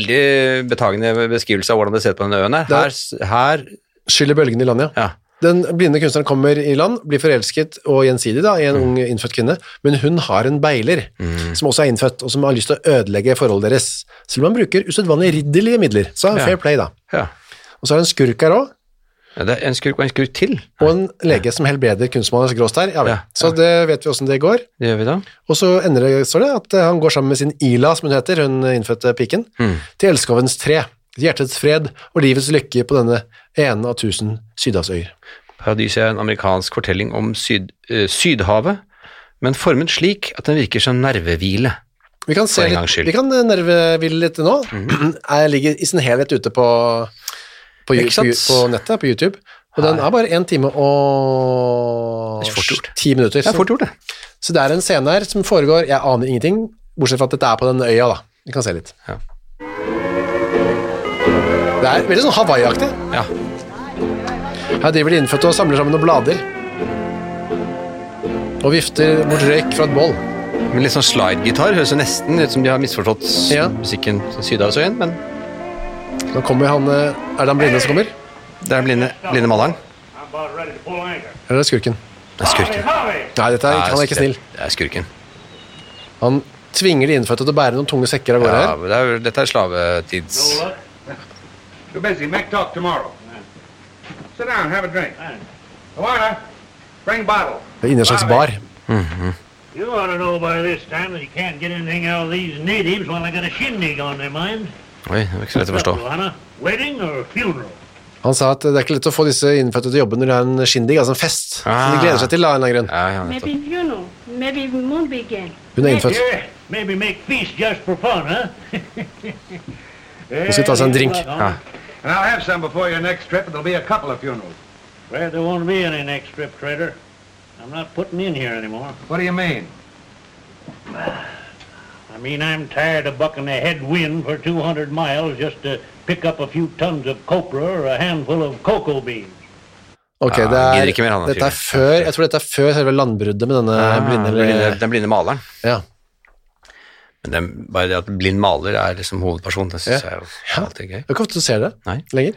Speaker 2: veldig betagende beskrivelse av hvordan det ser ut på denne øen her. Her, her
Speaker 1: Skyller bølgene i land, ja.
Speaker 2: ja.
Speaker 1: Den blinde kunstneren kommer i land, blir forelsket og gjensidig da, i en ung innfødt kvinne, men hun har en beiler, som også er innfødt, og som har lyst til å ødelegge forholdet deres. Selv om han bruker usedvanlig ridderlige midler, så er det
Speaker 2: Ja.
Speaker 1: fair play da.
Speaker 2: ja.
Speaker 1: Og så er det en skurk her også,
Speaker 2: Ja, Det er en skurk og en skurk til.
Speaker 1: Og en lege som helbreder kunstmannes gråstær. Ja, vel.
Speaker 2: Ja.
Speaker 1: Så det vet vi åssen det går.
Speaker 2: Det gjør vi da.
Speaker 1: Og så ender det, står det, at eh, han går sammen med sin Ila, som hun heter, hun innfødte piken, til elskovens tre. Hjertets fred og livets lykke på denne ene av tusen sydhavsøyer.
Speaker 2: Paradiset er en amerikansk fortelling om syd, eh, Sydhavet, men formet slik at den virker som nervehvile.
Speaker 1: Vi kan, se
Speaker 2: For en
Speaker 1: litt,
Speaker 2: gangs skyld. Mhm.
Speaker 1: vi kan eh, nervehvile litt nå. (clears throat) Jeg ligger i sin helhet ute på, på, Ju-
Speaker 2: Ikke sant?
Speaker 1: på, Ju- på nettet, på YouTube, og den er bare 1 time og
Speaker 2: Det er fort gjort.
Speaker 1: 10 minutter.
Speaker 2: Det er fort gjort, det.
Speaker 1: Så det er en scene her som foregår, jeg aner ingenting, bortsett fra at dette er på den øya da. Vi kan se litt.
Speaker 2: Ja.
Speaker 1: Det er veldig sånn Hawaii-aktig.
Speaker 2: Ja.
Speaker 1: Her driver de innfødte og samler sammen noen blader. Og vifter mot røyk fra et bål.
Speaker 2: Men litt sånn slidegitar høres jo nesten ut som de har misforstått s-
Speaker 1: Ja.
Speaker 2: musikken til Sydhavsøyen, men
Speaker 1: Nå kommer han, eh, er det han blinde som kommer?
Speaker 2: det er den blinde, blinde maleren.
Speaker 3: I'm about ready to pull anchor.
Speaker 1: Eller er det skurken?
Speaker 2: Det er
Speaker 3: Hurry,
Speaker 2: skurken.
Speaker 3: hurry!
Speaker 1: Nei, dette er,
Speaker 2: Ja,
Speaker 1: han er ikke
Speaker 2: det-
Speaker 1: snill.
Speaker 2: Det er skurken.
Speaker 1: Han tvinger de innfødte til å bære noen tunge sekker av gårde
Speaker 2: Ja,
Speaker 1: her.
Speaker 2: det er, jo- dette er slavetids...
Speaker 3: Look,
Speaker 4: Too busy. Make talk tomorrow. Sit down. Have a drink. Luana, bring bottle.
Speaker 1: Det er inne i en slags bar.
Speaker 3: you ought to know by this time that you can't get anything out of these natives while they got a shindig on their minds.
Speaker 2: Oi, det var ikke så lett å forstå.
Speaker 3: Luana, wedding or funeral?
Speaker 1: Han sa at det er ikke lett å få disse innfødte til å jobbe når det er en shindig, altså en fest. Som
Speaker 2: Ah.
Speaker 1: de gleder seg til, da, av en eller annen grunn.
Speaker 2: Ja, ja, nettopp.
Speaker 5: Maybe you know. Maybe we won't begin.
Speaker 1: Hun er innfødt.
Speaker 3: Yeah, maybe make feast just for fun, huh?
Speaker 1: Hun skal ta seg en drink.
Speaker 3: Yeah.
Speaker 4: And I'll have some before your next trip, and there'll be a couple of funerals.
Speaker 3: Glad there won't be any next trip, Trader. I'm not putting in here anymore.
Speaker 4: What do you mean?
Speaker 3: I mean, I'm tired of bucking the head wind for 200 miles just to pick up a few tons of copra or a handful of cocoa beans.
Speaker 1: Ok,
Speaker 2: Ja,
Speaker 1: det
Speaker 2: han
Speaker 1: er,
Speaker 2: gidder ikke mer, han, han
Speaker 1: dette er før, jeg tror dette er før selve landbruddet med denne
Speaker 2: Ah,
Speaker 1: blinde.
Speaker 2: blinde- Den blinde maleren.
Speaker 1: ja.
Speaker 2: Men det, er bare det at blind maler er liksom hovedperson, det
Speaker 1: Ja.
Speaker 2: syns jeg
Speaker 1: Ja.
Speaker 2: er jo alltid gøy.
Speaker 1: Det er ikke ofte du ser det
Speaker 2: Nei.
Speaker 1: lenger.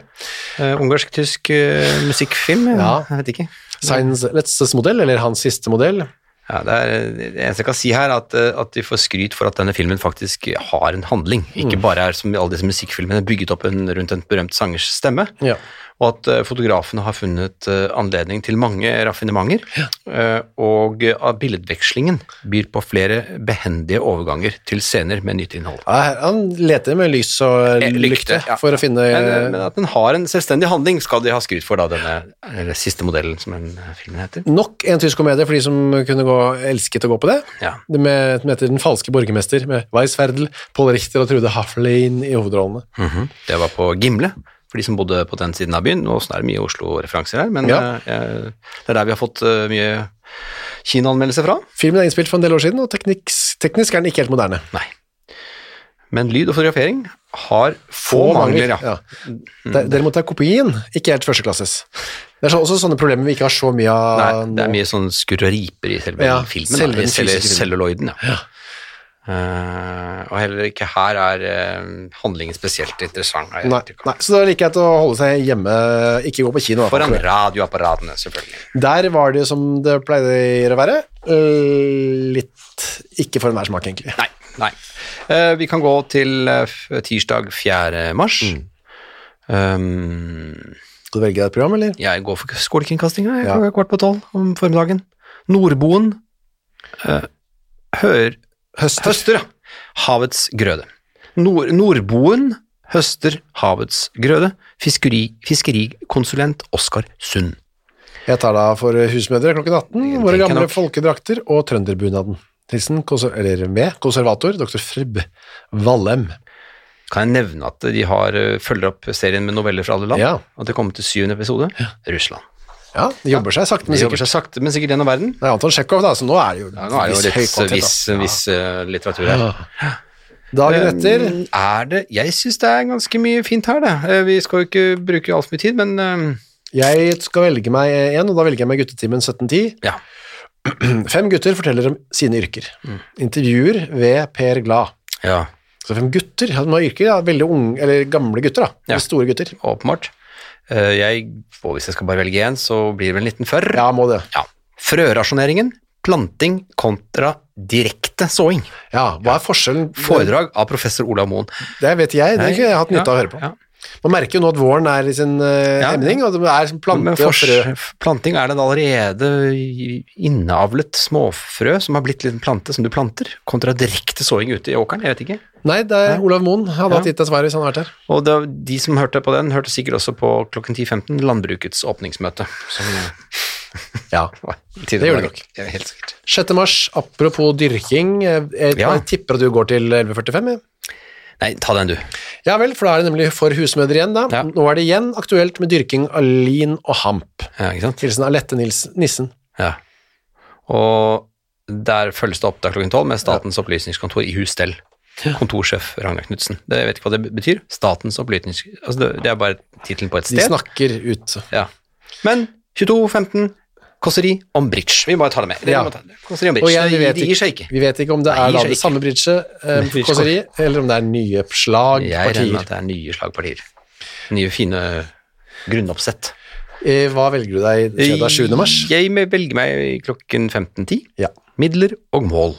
Speaker 2: Eh, Ungarsk-tysk eh, musikkfilm?
Speaker 1: Ja.
Speaker 2: Jeg vet ikke.
Speaker 1: Signs Let's modell, eller hans siste modell.
Speaker 2: Ja, det, er, det eneste jeg kan si her, er at, eh, at de får skryt for at denne filmen faktisk har en handling. Ikke bare er som i alle disse musikkfilmene bygget opp en, rundt en berømt sangers stemme.
Speaker 1: Ja.
Speaker 2: Og at eh, fotografene har funnet eh, anledning til mange raffinementer. eh, og eh, at billedvekslingen byr på flere behendige overganger til scener med nytt innhold.
Speaker 1: Ja, her- Han leter med lys og
Speaker 2: Eh,
Speaker 1: lykte,
Speaker 2: lykte, ja.
Speaker 1: for å finne
Speaker 2: Men, eh, men at den har en selvstendig handling, skal de ha skryt for, da, denne eller, siste modellen, som den eh, filmen heter.
Speaker 1: nok en tysk komedie for de som kunne gå, elsket å gå på det.
Speaker 2: Ja.
Speaker 1: Det med, som heter Den falske borgermester, med Weiss Ferdel, Pål Richter og Trude Haflein i hovedrollene.
Speaker 2: Det Mhm. var på Gimle, for de som bodde på den siden av byen. Nå sånn er det mye Oslo-referanser her, men
Speaker 1: Ja.
Speaker 2: eh, eh, det er der vi har fått eh, mye Kina-anmeldelser fra.
Speaker 1: Filmen er innspilt for en del år siden, og teknisk, teknisk er den ikke helt moderne.
Speaker 2: Nei. Men lyd og fotografering har få mangler, ja.
Speaker 1: Der- Derimot er kopien ikke helt førsteklasses. Det er så, også sånne problemer vi ikke har så mye av
Speaker 2: Nei, det er
Speaker 1: nå.
Speaker 2: mye sånn skurr og riper i selve
Speaker 1: um, Ja,
Speaker 2: filmen.
Speaker 1: selve
Speaker 2: da,
Speaker 1: den
Speaker 2: I selve
Speaker 1: fysiske filmen.
Speaker 2: celluloiden, ja. Eh, og heller ikke her er eh, handlingen spesielt interessant. har jeg
Speaker 1: Nei,
Speaker 2: inntrykk av.
Speaker 1: nei, så det er like greit å holde seg hjemme, ikke gå på kino. da,
Speaker 2: Foran
Speaker 1: tror jeg.
Speaker 2: radioapparatene, selvfølgelig.
Speaker 1: Der var det jo som det pleier å være. øh, Litt ikke for enhver smak, egentlig.
Speaker 2: Nei. nei. Eh, vi kan gå til eh, f- tirsdag 4. mars.
Speaker 1: Mm.
Speaker 2: Um,
Speaker 1: Skal du velge deg et program, eller?
Speaker 2: jeg går for skolekringkastinga jeg,
Speaker 1: Ja.
Speaker 2: klokka kvart på tolv om formiddagen. Nordboen eh, hør,
Speaker 1: Høster.
Speaker 2: høster ja. havets grøde. Nord, Nordboen høster havets grøde. Fiskeri, fiskerikonsulent Oskar Sund.
Speaker 1: Jeg tar da for Husmødre klokken 18,
Speaker 2: Jeg
Speaker 1: våre
Speaker 2: tenker
Speaker 1: gamle
Speaker 2: nok.
Speaker 1: folkedrakter og trønderbunaden. Hilsen konser eller med konservator dr. Frib Vallem.
Speaker 2: Kan jeg nevne at de har, eh, følger opp serien med noveller fra alle land?
Speaker 1: Ja.
Speaker 2: At det kommer til syvende episode? Russland.
Speaker 1: Ja, de jobber seg sakte,
Speaker 2: De
Speaker 1: men
Speaker 2: jobber
Speaker 1: sikkert.
Speaker 2: seg sakte, men sikkert gjennom verden.
Speaker 1: Det er Anton Tsjekhov, da, så nå er det jo,
Speaker 2: Ja, nå er det jo
Speaker 1: viss
Speaker 2: litt
Speaker 1: høy kvalitet, da.
Speaker 2: viss, viss eh, litteratur her.
Speaker 1: Dagen etter
Speaker 2: Eh, Er det Jeg syns det er ganske mye fint her, det. Eh, Vi skal jo ikke bruke altfor mye tid, men eh,
Speaker 1: Jeg skal velge meg en, og da velger jeg meg guttetimen 1710.
Speaker 2: ja.
Speaker 1: Fem gutter forteller om sine yrker.
Speaker 2: Mm.
Speaker 1: Intervjuer ved Per Glad.
Speaker 2: ja.
Speaker 1: Så fem gutter, ja, de har yrker, ja, veldig unge, eller gamle gutter da,
Speaker 2: Ja.
Speaker 1: eller store gutter.
Speaker 2: Åpenbart. Eh, Jeg, og hvis jeg skal bare velge én, så blir det vel en liten førr.
Speaker 1: Ja, må det.
Speaker 2: Ja. Frørasjoneringen. Planting kontra direkte såing.
Speaker 1: Ja, hva er forskjellen?
Speaker 2: Foredrag av professor Olav Moen.
Speaker 1: Det vet jeg, det har
Speaker 2: Nei,
Speaker 1: ikke jeg hatt nytte av å
Speaker 2: ja,
Speaker 1: høre på.
Speaker 2: ja.
Speaker 1: Man merker jo nå at våren er i sin eh,
Speaker 2: Ja.
Speaker 1: emning, og det er som plante
Speaker 2: Men
Speaker 1: og frø.
Speaker 2: fors- planting er det allerede i- innavlet småfrø som har blitt en plante som du planter, kontra direkte såing ute i åkeren, jeg vet ikke.
Speaker 1: Nei, det er Olav Moen hadde
Speaker 2: Ja.
Speaker 1: hatt gitt deg svaret hvis han hadde vært her.
Speaker 2: Og da, de som hørte på den, hørte sikkert også på klokken 10.15 landbrukets åpningsmøte. Som
Speaker 1: (laughs) Ja.
Speaker 2: (laughs) var
Speaker 1: Det gjorde det nok.
Speaker 2: Ja, helt sikkert.
Speaker 1: 6. mars, apropos dyrking, jeg, jeg,
Speaker 2: Ja.
Speaker 1: jeg tipper at du går til 11.45. jeg.
Speaker 2: Nei, ta den du.
Speaker 1: Ja vel, for da er det nemlig for husmødre igjen da.
Speaker 2: Ja.
Speaker 1: Nå er det igjen aktuelt med dyrking av lin og hamp.
Speaker 2: Ja, ikke sant?
Speaker 1: Hilsen Alette Nils Nissen.
Speaker 2: Ja. Og der følges det opp da klokken 12 med Statens opplysningskontor i husstell. Kontorsjef Ragnar Knutsen. Det- Jeg vet ikke hva det betyr. Statens opplysnings... Altså, det- det er bare tittelen på et
Speaker 1: De
Speaker 2: sted.
Speaker 1: snakker ut.
Speaker 2: Ja. Men 22.15, kåseri om bridge. Vi må ta det med. Vi
Speaker 1: Ja.
Speaker 2: må ta det. Kåseri om
Speaker 1: Og
Speaker 2: bridge.
Speaker 1: igjen, vi,
Speaker 2: det,
Speaker 1: vet
Speaker 2: det gir seg
Speaker 1: ikke,
Speaker 2: ikke.
Speaker 1: vi vet ikke om det
Speaker 2: Nei,
Speaker 1: er
Speaker 2: gir
Speaker 1: da
Speaker 2: seg
Speaker 1: det
Speaker 2: ikke.
Speaker 1: samme bridget, eh,
Speaker 2: bridget.
Speaker 1: kåseri, eller om det er nye slag,
Speaker 2: Jeg regner med
Speaker 1: partier.
Speaker 2: at det er nye slagpartier. Nye, fine grunnoppsett.
Speaker 1: Eh, Hva velger du deg i
Speaker 2: Eh,
Speaker 1: fredag 7. mars?
Speaker 2: Jeg må velge meg klokken 15.10.
Speaker 1: Ja.
Speaker 2: Midler og mål.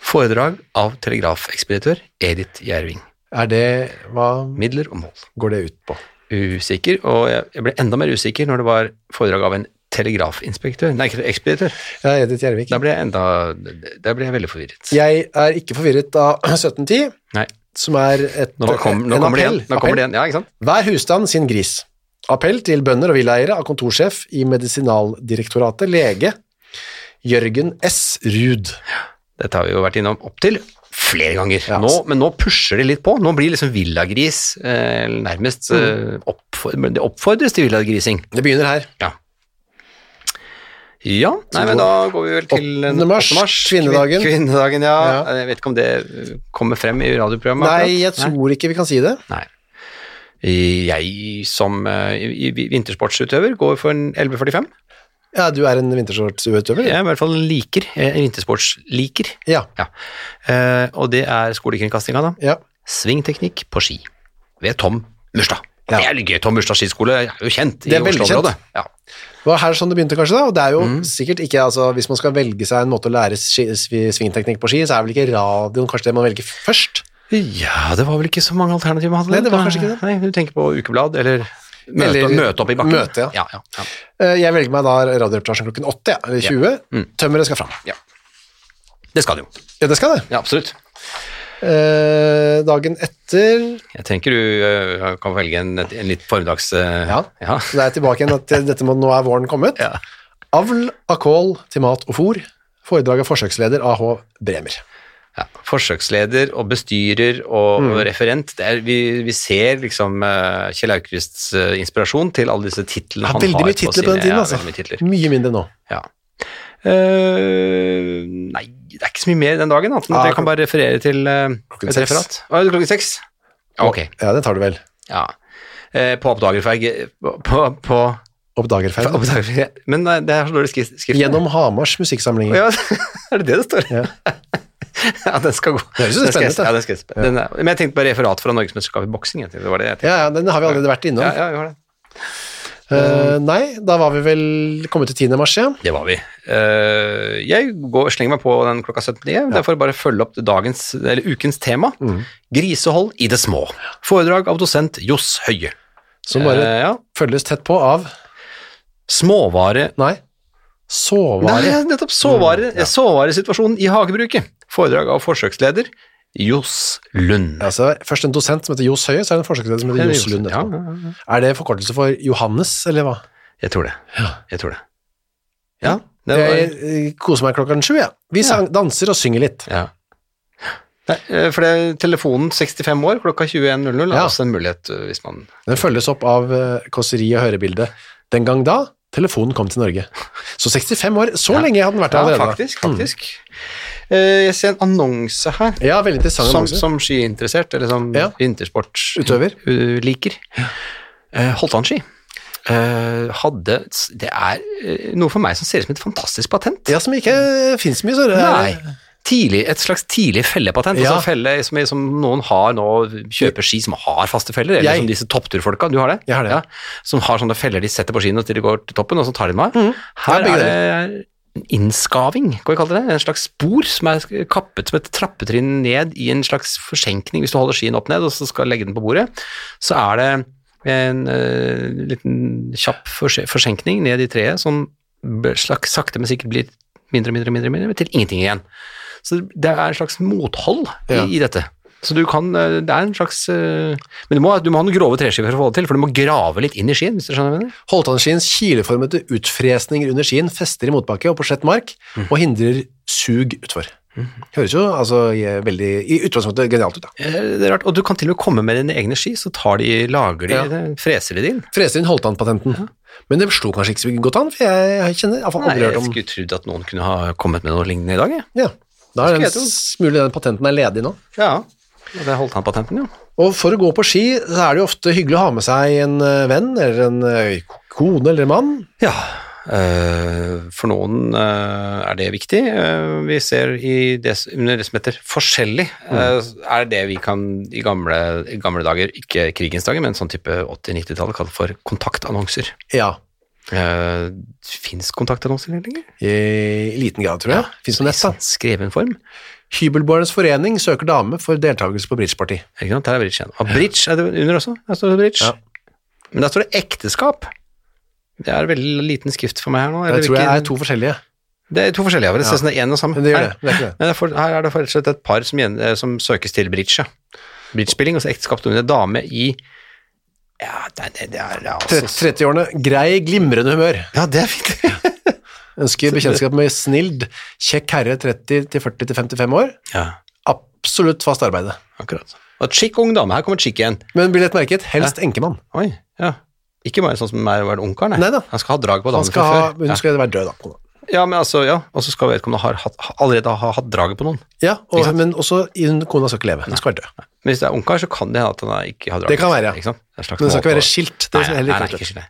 Speaker 2: Foredrag av telegrafekspeditør Edith Gjerving.
Speaker 1: Er det, hva
Speaker 2: Midler og mål.
Speaker 1: går det ut på?
Speaker 2: Usikker, og jeg jeg ble enda mer usikker når det var foredrag av en telegrafinspektør, nei, ikke ekspeditør.
Speaker 1: Ja, Edith Gjervik.
Speaker 2: Da ble jeg enda, da ble jeg veldig forvirret.
Speaker 1: Jeg er ikke forvirret av (clears throat) 1710,
Speaker 2: Nei,
Speaker 1: som er et,
Speaker 2: nå, kom, nå
Speaker 1: en
Speaker 2: kommer det
Speaker 1: appell.
Speaker 2: igjen. Nå kommer det igjen, ja, ikke sant?
Speaker 1: Hver husstand sin gris. Appell til bønder og villeiere av kontorsjef i Medisinaldirektoratet, lege Jørgen S. Ruud.
Speaker 2: Dette har vi jo vært innom opptil flere ganger.
Speaker 1: Ja.
Speaker 2: Nå, men nå pusher de litt på. Nå blir liksom villagris eh, nærmest
Speaker 1: Mm.
Speaker 2: eh, oppfor, men Det oppfordres til villagrising.
Speaker 1: Det begynner her.
Speaker 2: Ja. Ja, nei, men da går vi vel til eh,
Speaker 1: 8. mars,
Speaker 2: åttende
Speaker 1: kvinnedagen.
Speaker 2: Kvin- Kvinnedagen, ja.
Speaker 1: Ja.
Speaker 2: Jeg vet ikke om det eh, kommer frem i radioprogrammet.
Speaker 1: Nei, jeg
Speaker 2: akkurat.
Speaker 1: tror ikke vi kan si det.
Speaker 2: Nei. Jeg som eh, i- i- vintersportsutøver går for en 11.45.
Speaker 1: Ja, du er en vintershortsutøver?
Speaker 2: Jeg er i hvert fall liker. eh, Vintersportsliker.
Speaker 1: Ja.
Speaker 2: Ja. Eh, og det er skolekringkastinga, da.
Speaker 1: ja.
Speaker 2: Svingteknikk på ski ved Tom Murstad.
Speaker 1: Ja.
Speaker 2: Det er litt gøy. Tom Murstad skiskole er jo kjent i
Speaker 1: Det er veldig
Speaker 2: Oslo-området.
Speaker 1: kjent.
Speaker 2: Ja.
Speaker 1: Det var her sånn det begynte, kanskje, da. Og det er jo
Speaker 2: Mm.
Speaker 1: sikkert ikke altså, Hvis man skal velge seg en måte å lære ski, svi- svingteknikk på ski, så er vel ikke radioen kanskje det man velger først?
Speaker 2: ja, det var vel ikke så mange alternativer man hadde.
Speaker 1: Nei, det var kanskje ikke det.
Speaker 2: Nei, du tenker på ukeblad eller møte,
Speaker 1: Eller-
Speaker 2: møte opp i bakken.
Speaker 1: Møte, ja.
Speaker 2: Ja, ja, ja.
Speaker 1: Eh, Jeg velger meg da radioreportasjen klokken åtte, ja, eller 20.
Speaker 2: Mm.
Speaker 1: Tømmeret skal fram.
Speaker 2: Det skal det jo.
Speaker 1: Ja, det skal det.
Speaker 2: Ja, absolutt.
Speaker 1: Eh, dagen etter
Speaker 2: Jeg tenker du eh, kan velge en, en litt formiddags... eh,
Speaker 1: Ja.
Speaker 2: ja.
Speaker 1: Så det er tilbake igjen at dette må, nå er våren kommet.
Speaker 2: Ja.
Speaker 1: Avl av kål til mat og fôr. Foredrag av forsøksleder A.H. Bremer.
Speaker 2: Ja, forsøksleder og bestyrer og
Speaker 1: Mm.
Speaker 2: og referent. Det er, vi, vi ser liksom eh, Kjell Aukrusts eh, inspirasjon til alle disse titlene
Speaker 1: Ja,
Speaker 2: han
Speaker 1: veldig
Speaker 2: har.
Speaker 1: mye titler på den
Speaker 2: sine-
Speaker 1: tiden,
Speaker 2: ja,
Speaker 1: altså.
Speaker 2: veldig mye titler.
Speaker 1: Mye mindre nå.
Speaker 2: Ja. Eh, nei, det er ikke så mye mer den dagen, annet enn
Speaker 1: Ja,
Speaker 2: at jeg kan bare referere til eh,
Speaker 1: klokken
Speaker 2: et
Speaker 1: seks.
Speaker 2: referat. Å, er det klokken seks? Ja, Ok,
Speaker 1: Ja, det tar du vel.
Speaker 2: ja. Eh, på oppdagerferge... På, på, på
Speaker 1: Oppdagerferd.
Speaker 2: oppdagerferge. Men nei, det er så dårlig skrift. skrift.
Speaker 1: Gjennom Hamars musikksamlinger.
Speaker 2: Ja, (laughs) er det det det står? (laughs) Ja, den skal gå.
Speaker 1: høres jo
Speaker 2: Den skal jeg-
Speaker 1: spennende ut, da.
Speaker 2: Ja, den skal jeg sp- den er- Men jeg tenkte på referat fra Norgesmesterskapet i boksing. jeg tenkte Det var det jeg tenkte.
Speaker 1: Ja, ja, den har vi allerede vært innom.
Speaker 2: Ja, ja, vi var det.
Speaker 1: Eh, nei, da var vi vel kommet til 10. mars, ja.
Speaker 2: det var vi. Eh, jeg går, slenger meg på den klokka 17.10, derfor bare følge opp dagens, eller ukens tema.
Speaker 1: Mm.
Speaker 2: Grisehold i det små. Foredrag av dosent Johs Høie.
Speaker 1: Som bare
Speaker 2: Eh, ja.
Speaker 1: følges tett på av
Speaker 2: Småvare...
Speaker 1: Nei,
Speaker 2: Nei,
Speaker 1: såvare.
Speaker 2: ja, nettopp såvare, såvaresituasjonen i hagebruket. Foredrag av forsøksleder Johs Lund.
Speaker 1: Altså, først en dosent som heter Johs Høie, så er det en forsøksleder som heter Johs Lund.
Speaker 2: Ja,
Speaker 1: etterpå.
Speaker 2: ja, ja.
Speaker 1: Er det forkortelse for Johannes, eller hva?
Speaker 2: Jeg tror det. Jeg tror det. Ja, det var,
Speaker 1: Jeg eh, koser meg klokken sju, ja. Vi sang, danser og synger litt.
Speaker 2: ja. Nei, eh, for det, telefonen 65 år klokka 21.00 er
Speaker 1: Ja.
Speaker 2: også en mulighet eh, hvis man
Speaker 1: Den følges opp av eh, kåseri og hørebilde. Den gang da, telefonen kom til Norge. Så 65 år, så lenge hadde den vært der
Speaker 2: Ja,
Speaker 1: allerede. Mm. da.
Speaker 2: faktisk. faktisk. Eh, Jeg ser en annonse her
Speaker 1: Mm. Ja, veldig interessant.
Speaker 2: som,
Speaker 1: annonse.
Speaker 2: som skiinteressert, eller som
Speaker 1: Ja. Utøver.
Speaker 2: vintersportsliker. Eh, Holtan-ski. Eh, hadde Det er eh, noe for meg som ser ut som et fantastisk patent.
Speaker 1: Ja, som ikke finnes mye, så det er-
Speaker 2: Nei. Tidlig, et slags tidlig fellepatent.
Speaker 1: Ja.
Speaker 2: Altså felle som, som noen har nå, kjøper ski som har faste feller, eller
Speaker 1: Jeg-
Speaker 2: som disse toppturfolka, du har det?
Speaker 1: Jeg har det. Mm.
Speaker 2: Ja, som har sånne feller de setter på skiene til de går til toppen, og så tar de dem av.
Speaker 1: Ja,
Speaker 2: Her
Speaker 1: begge
Speaker 2: er det en innskaving, kan vi kalle det det? En slags spor som er kappet som et trappetrinn ned i en slags forsenkning, hvis du holder skien opp ned og så skal legge den på bordet, så er det en eh, liten kjapp forse forsenkning ned i treet som bør- slags, sakte, men sikkert blir mindre og mindre, og mindre, og mindre, til ingenting igjen. Så det er en slags mothold i,
Speaker 1: Ja.
Speaker 2: i dette. Så du kan, eh, det er en slags eh, Men du må, du må ha noen grove treskiver for å få det til, for du må grave litt inn i skien, hvis du skjønner hva jeg mener.
Speaker 1: Holtanskiens kileformete utfresninger under skien fester i motbakke og på slett mark
Speaker 2: Mm.
Speaker 1: og hindrer sug utfor. Høres jo altså je- veldig, i utgangspunktet genialt ut da.
Speaker 2: Eh, Det er rart. Og du kan til og med komme med dine egne ski, så tar de, lager de,
Speaker 1: Ja.
Speaker 2: det, freser de det inn.
Speaker 1: Freser inn Holtan-patenten. Men det slo kanskje ikke så godt an, for jeg kjenner i hvert fall
Speaker 2: Mm. Nei,
Speaker 1: aldri hørt
Speaker 2: jeg
Speaker 1: om.
Speaker 2: skulle trodd at noen kunne ha kommet med noe lignende i dag, jeg.
Speaker 1: Ja, da er
Speaker 2: Det skulle
Speaker 1: den
Speaker 2: jeg tro.
Speaker 1: s- mulig den patenten er ledig nå.
Speaker 2: Ja. Og det holdt han patenten, jo.
Speaker 1: Og for å gå på ski, så er det jo ofte hyggelig å ha med seg en eh, venn, eller en eh, kone eller en mann.
Speaker 2: Ja, eh, for noen eh, er det viktig. Eh, vi ser i det, s- under det som heter forskjellig, eh, er det vi kan i gamle, i gamle dager, ikke krigens dager, men sånn type 80-90-tallet, kalle for kontaktannonser.
Speaker 1: Ja,
Speaker 2: Uh, Fins kontaktannonser lenger?
Speaker 1: i liten grad, tror jeg. Finnes noe nett da.
Speaker 2: Skreven form?
Speaker 1: Hybelboernes forening søker dame for deltakelse på bridgeparti.
Speaker 2: Ikke sant? Der er bridge igjen. Og bridge er det under også. Der står det bridge.
Speaker 1: Ja.
Speaker 2: Men der står det ekteskap. Det er veldig liten skrift for meg her nå.
Speaker 1: Det
Speaker 2: eller
Speaker 1: tror jeg
Speaker 2: hvilken-
Speaker 1: er to forskjellige.
Speaker 2: Det er to forskjellige av det. Ser ut som det er én og samme.
Speaker 1: Men det gjør
Speaker 2: Her-
Speaker 1: det, det er ikke det.
Speaker 2: Men det er for, her er det for rett og slett et par som, gjen- eh, som søkes til bridge. ja. Bridgespilling, og så ekteskap under en dame i Ja, det, er- det, det er det er
Speaker 1: Tre-
Speaker 2: altså
Speaker 1: 30-årene, grei, glimrende humør.
Speaker 2: Ja, det er fint. (laughs)
Speaker 1: Ønsker bekjentskap med snild, kjekk herre 30-40-55 år.
Speaker 2: ja,
Speaker 1: Absolutt fast arbeide.
Speaker 2: akkurat. Og et chic ung dame. Her kommer et chic igjen.
Speaker 1: Men blir lett merket, helst enkemann.
Speaker 2: Oi, ja. Ikke bare sånn som meg og ungkaren. nei.
Speaker 1: Neida.
Speaker 2: Han skal ha drag på
Speaker 1: Han
Speaker 2: damen
Speaker 1: skal
Speaker 2: fra
Speaker 1: ha,
Speaker 2: før.
Speaker 1: hun
Speaker 2: Ja.
Speaker 1: skal være død da. kona.
Speaker 2: ja, men altså, ja. Og så skal vedkommende ha, hatt- ha, allerede ha hatt draget på noen.
Speaker 1: Ja, og, men også hun- kona skal ikke leve, hun skal være død.
Speaker 2: Men hvis det er ungkar, så kan det hende at han er- ikke har draget.
Speaker 1: Det kan være, ja.
Speaker 2: Ikke sant? Det er en slags
Speaker 1: Men hun skal
Speaker 2: måte
Speaker 1: ikke
Speaker 2: å-
Speaker 1: være skilt. Det er
Speaker 2: Nei, nei,
Speaker 1: heller
Speaker 2: nei,
Speaker 1: ikke
Speaker 2: ikke skilt.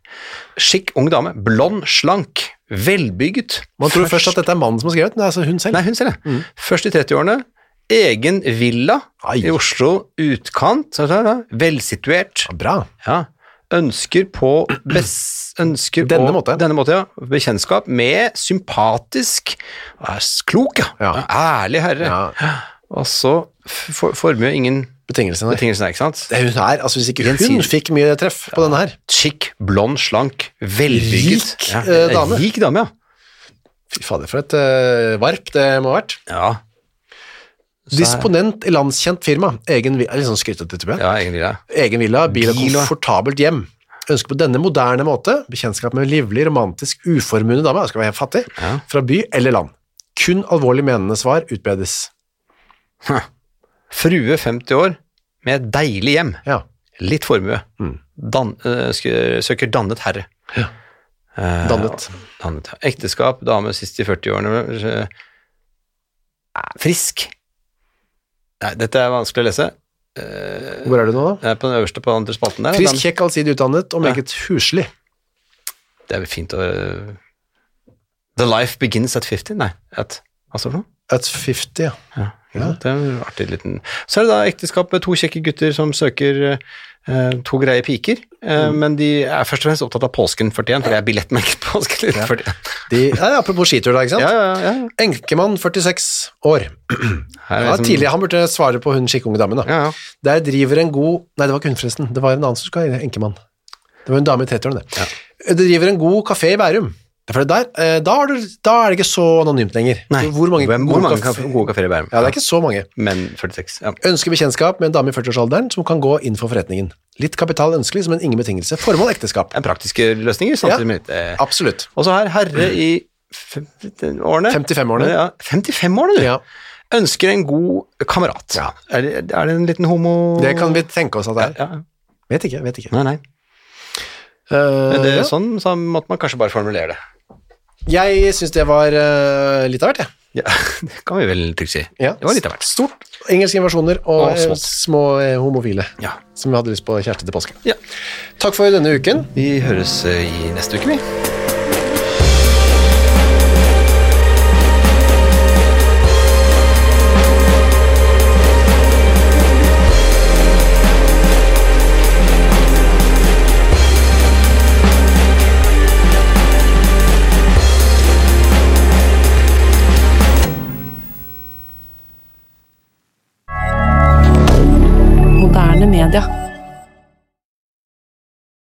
Speaker 2: Skikk ung dame. Blond, slank, velbygget.
Speaker 1: Man tror først at dette er mannen som har skrevet, men det er altså hun selv.
Speaker 2: Nei, hun selv, det. Først i 30-årene, egen villa
Speaker 1: Ai.
Speaker 2: i Oslo, utkant, sånn, sånn, sånn, velsituert.
Speaker 1: Ja, Bra.
Speaker 2: Ja. Ønsker på bes, ønsker
Speaker 1: Denne
Speaker 2: på,
Speaker 1: måten.
Speaker 2: Denne måten, ja. Bekjennskap med sympatisk er s- Klok, ja.
Speaker 1: Ja.
Speaker 2: Ærlig herre.
Speaker 1: Ja.
Speaker 2: Og så f- for, formue ingen
Speaker 1: Betingelsene. der.
Speaker 2: betingelser, ikke sant?
Speaker 1: Det Hun er, altså hvis ikke hun
Speaker 2: Gjensidig.
Speaker 1: fikk mye treff på denne her.
Speaker 2: Chic, blond, slank, velbygget.
Speaker 1: Rik,
Speaker 2: Ja,
Speaker 1: eh, dame.
Speaker 2: Rik dame, ja.
Speaker 1: Fy fader, for et eh, varp det må ha vært.
Speaker 2: Ja,
Speaker 1: Disponent i landskjent firma. Egen, vi- er litt sånn skrytete, tror jeg.
Speaker 2: ja egentlig det.
Speaker 1: Egen villa, bil og
Speaker 2: Bil og-
Speaker 1: komfortabelt hjem. Ønsker på denne moderne måte bekjentskap med en livlig, romantisk, uformuende dame, jeg skal være helt fattig,
Speaker 2: Ja.
Speaker 1: fra by eller land. Kun alvorlig menende svar utbedes.
Speaker 2: Frue 50 år med et deilig hjem.
Speaker 1: Ja.
Speaker 2: Litt formue.
Speaker 1: Mm.
Speaker 2: Dan, eh, sk- søker dannet herre. Eh,
Speaker 1: Dannet.
Speaker 2: dannet. ja. Ekteskap, dame sist i 40-årene. eh, er frisk. Nei, dette er vanskelig å lese.
Speaker 1: Hvor er du nå, da?
Speaker 2: Det er på den øverste på den andre spalten der.
Speaker 1: Frisk,
Speaker 2: Dam-
Speaker 1: kjekk, allsidig utdannet og
Speaker 2: Ja.
Speaker 1: meget huslig.
Speaker 2: Det er vel fint å eh, The life begins at 50? Nei, at, hva står det for noe?
Speaker 1: At 50, ja.
Speaker 2: Ja, ja. Det er en artig liten Så er det da ekteskap med to kjekke gutter som søker eh, to greie piker, eh,
Speaker 1: Mm.
Speaker 2: men de er først og fremst opptatt av påsken 41, for det er billettmerket påsken (laughs) 41.
Speaker 1: De, ja, apropos skitur, da, ikke sant?
Speaker 2: Ja, ja, ja.
Speaker 1: Enkemann, 46 år.
Speaker 2: Her er
Speaker 1: Ja,
Speaker 2: liksom-
Speaker 1: tidlig, Han burde svare på hun skikkunge damen, da.
Speaker 2: Ja, ja.
Speaker 1: Der driver en god Nei, det var ikke hun, forresten. Det var en annen som skulle ha enkemann. Det var en dame i 30-årene, det. Eh, Det driver en god kafé i Bærum. Det er fordi der, eh, da, er du, da er det ikke så anonymt lenger.
Speaker 2: Nei,
Speaker 1: Hvor mange,
Speaker 2: Hvem, hvor
Speaker 1: gode
Speaker 2: mange
Speaker 1: kafé-
Speaker 2: kafé, gode kafeer i Bærum?
Speaker 1: Ja, det er ikke så mange.
Speaker 2: Men 46. Ja.
Speaker 1: Ønsker bekjentskap med en dame i 40-årsalderen som kan gå inn for forretningen. Litt kapital ønskelig, som en ingen betingelse. Formål ekteskap.
Speaker 2: Det er praktiske løsninger.
Speaker 1: Ja.
Speaker 2: samtidig med eh,
Speaker 1: Absolutt.
Speaker 2: Og så her herre i 50-årene.
Speaker 1: 55-årene.
Speaker 2: Ja, 55-årene, du.
Speaker 1: Ja,
Speaker 2: Ønsker en god kamerat.
Speaker 1: Ja.
Speaker 2: Er, det, er det en liten homo...?
Speaker 1: det kan vi tenke oss at det er.
Speaker 2: Ja, ja.
Speaker 1: Vet ikke, vet ikke.
Speaker 2: Nei, nei.
Speaker 1: Eh,
Speaker 2: Men det,
Speaker 1: ja.
Speaker 2: Sånn så måtte man kanskje bare formulere det.
Speaker 1: Jeg syns det var eh, litt av hvert, jeg.
Speaker 2: Ja, (laughs) det kan vi vel trygt si.
Speaker 1: Ja.
Speaker 2: Det var litt av hvert.
Speaker 1: Stort. Engelske invasjoner og,
Speaker 2: Og
Speaker 1: eh,
Speaker 2: smått.
Speaker 1: små eh, homofile
Speaker 2: Ja.
Speaker 1: som hadde lyst på kjæreste til påske.
Speaker 2: Ja.
Speaker 1: Takk for denne uken.
Speaker 2: Vi høres eh, i neste uke, vi.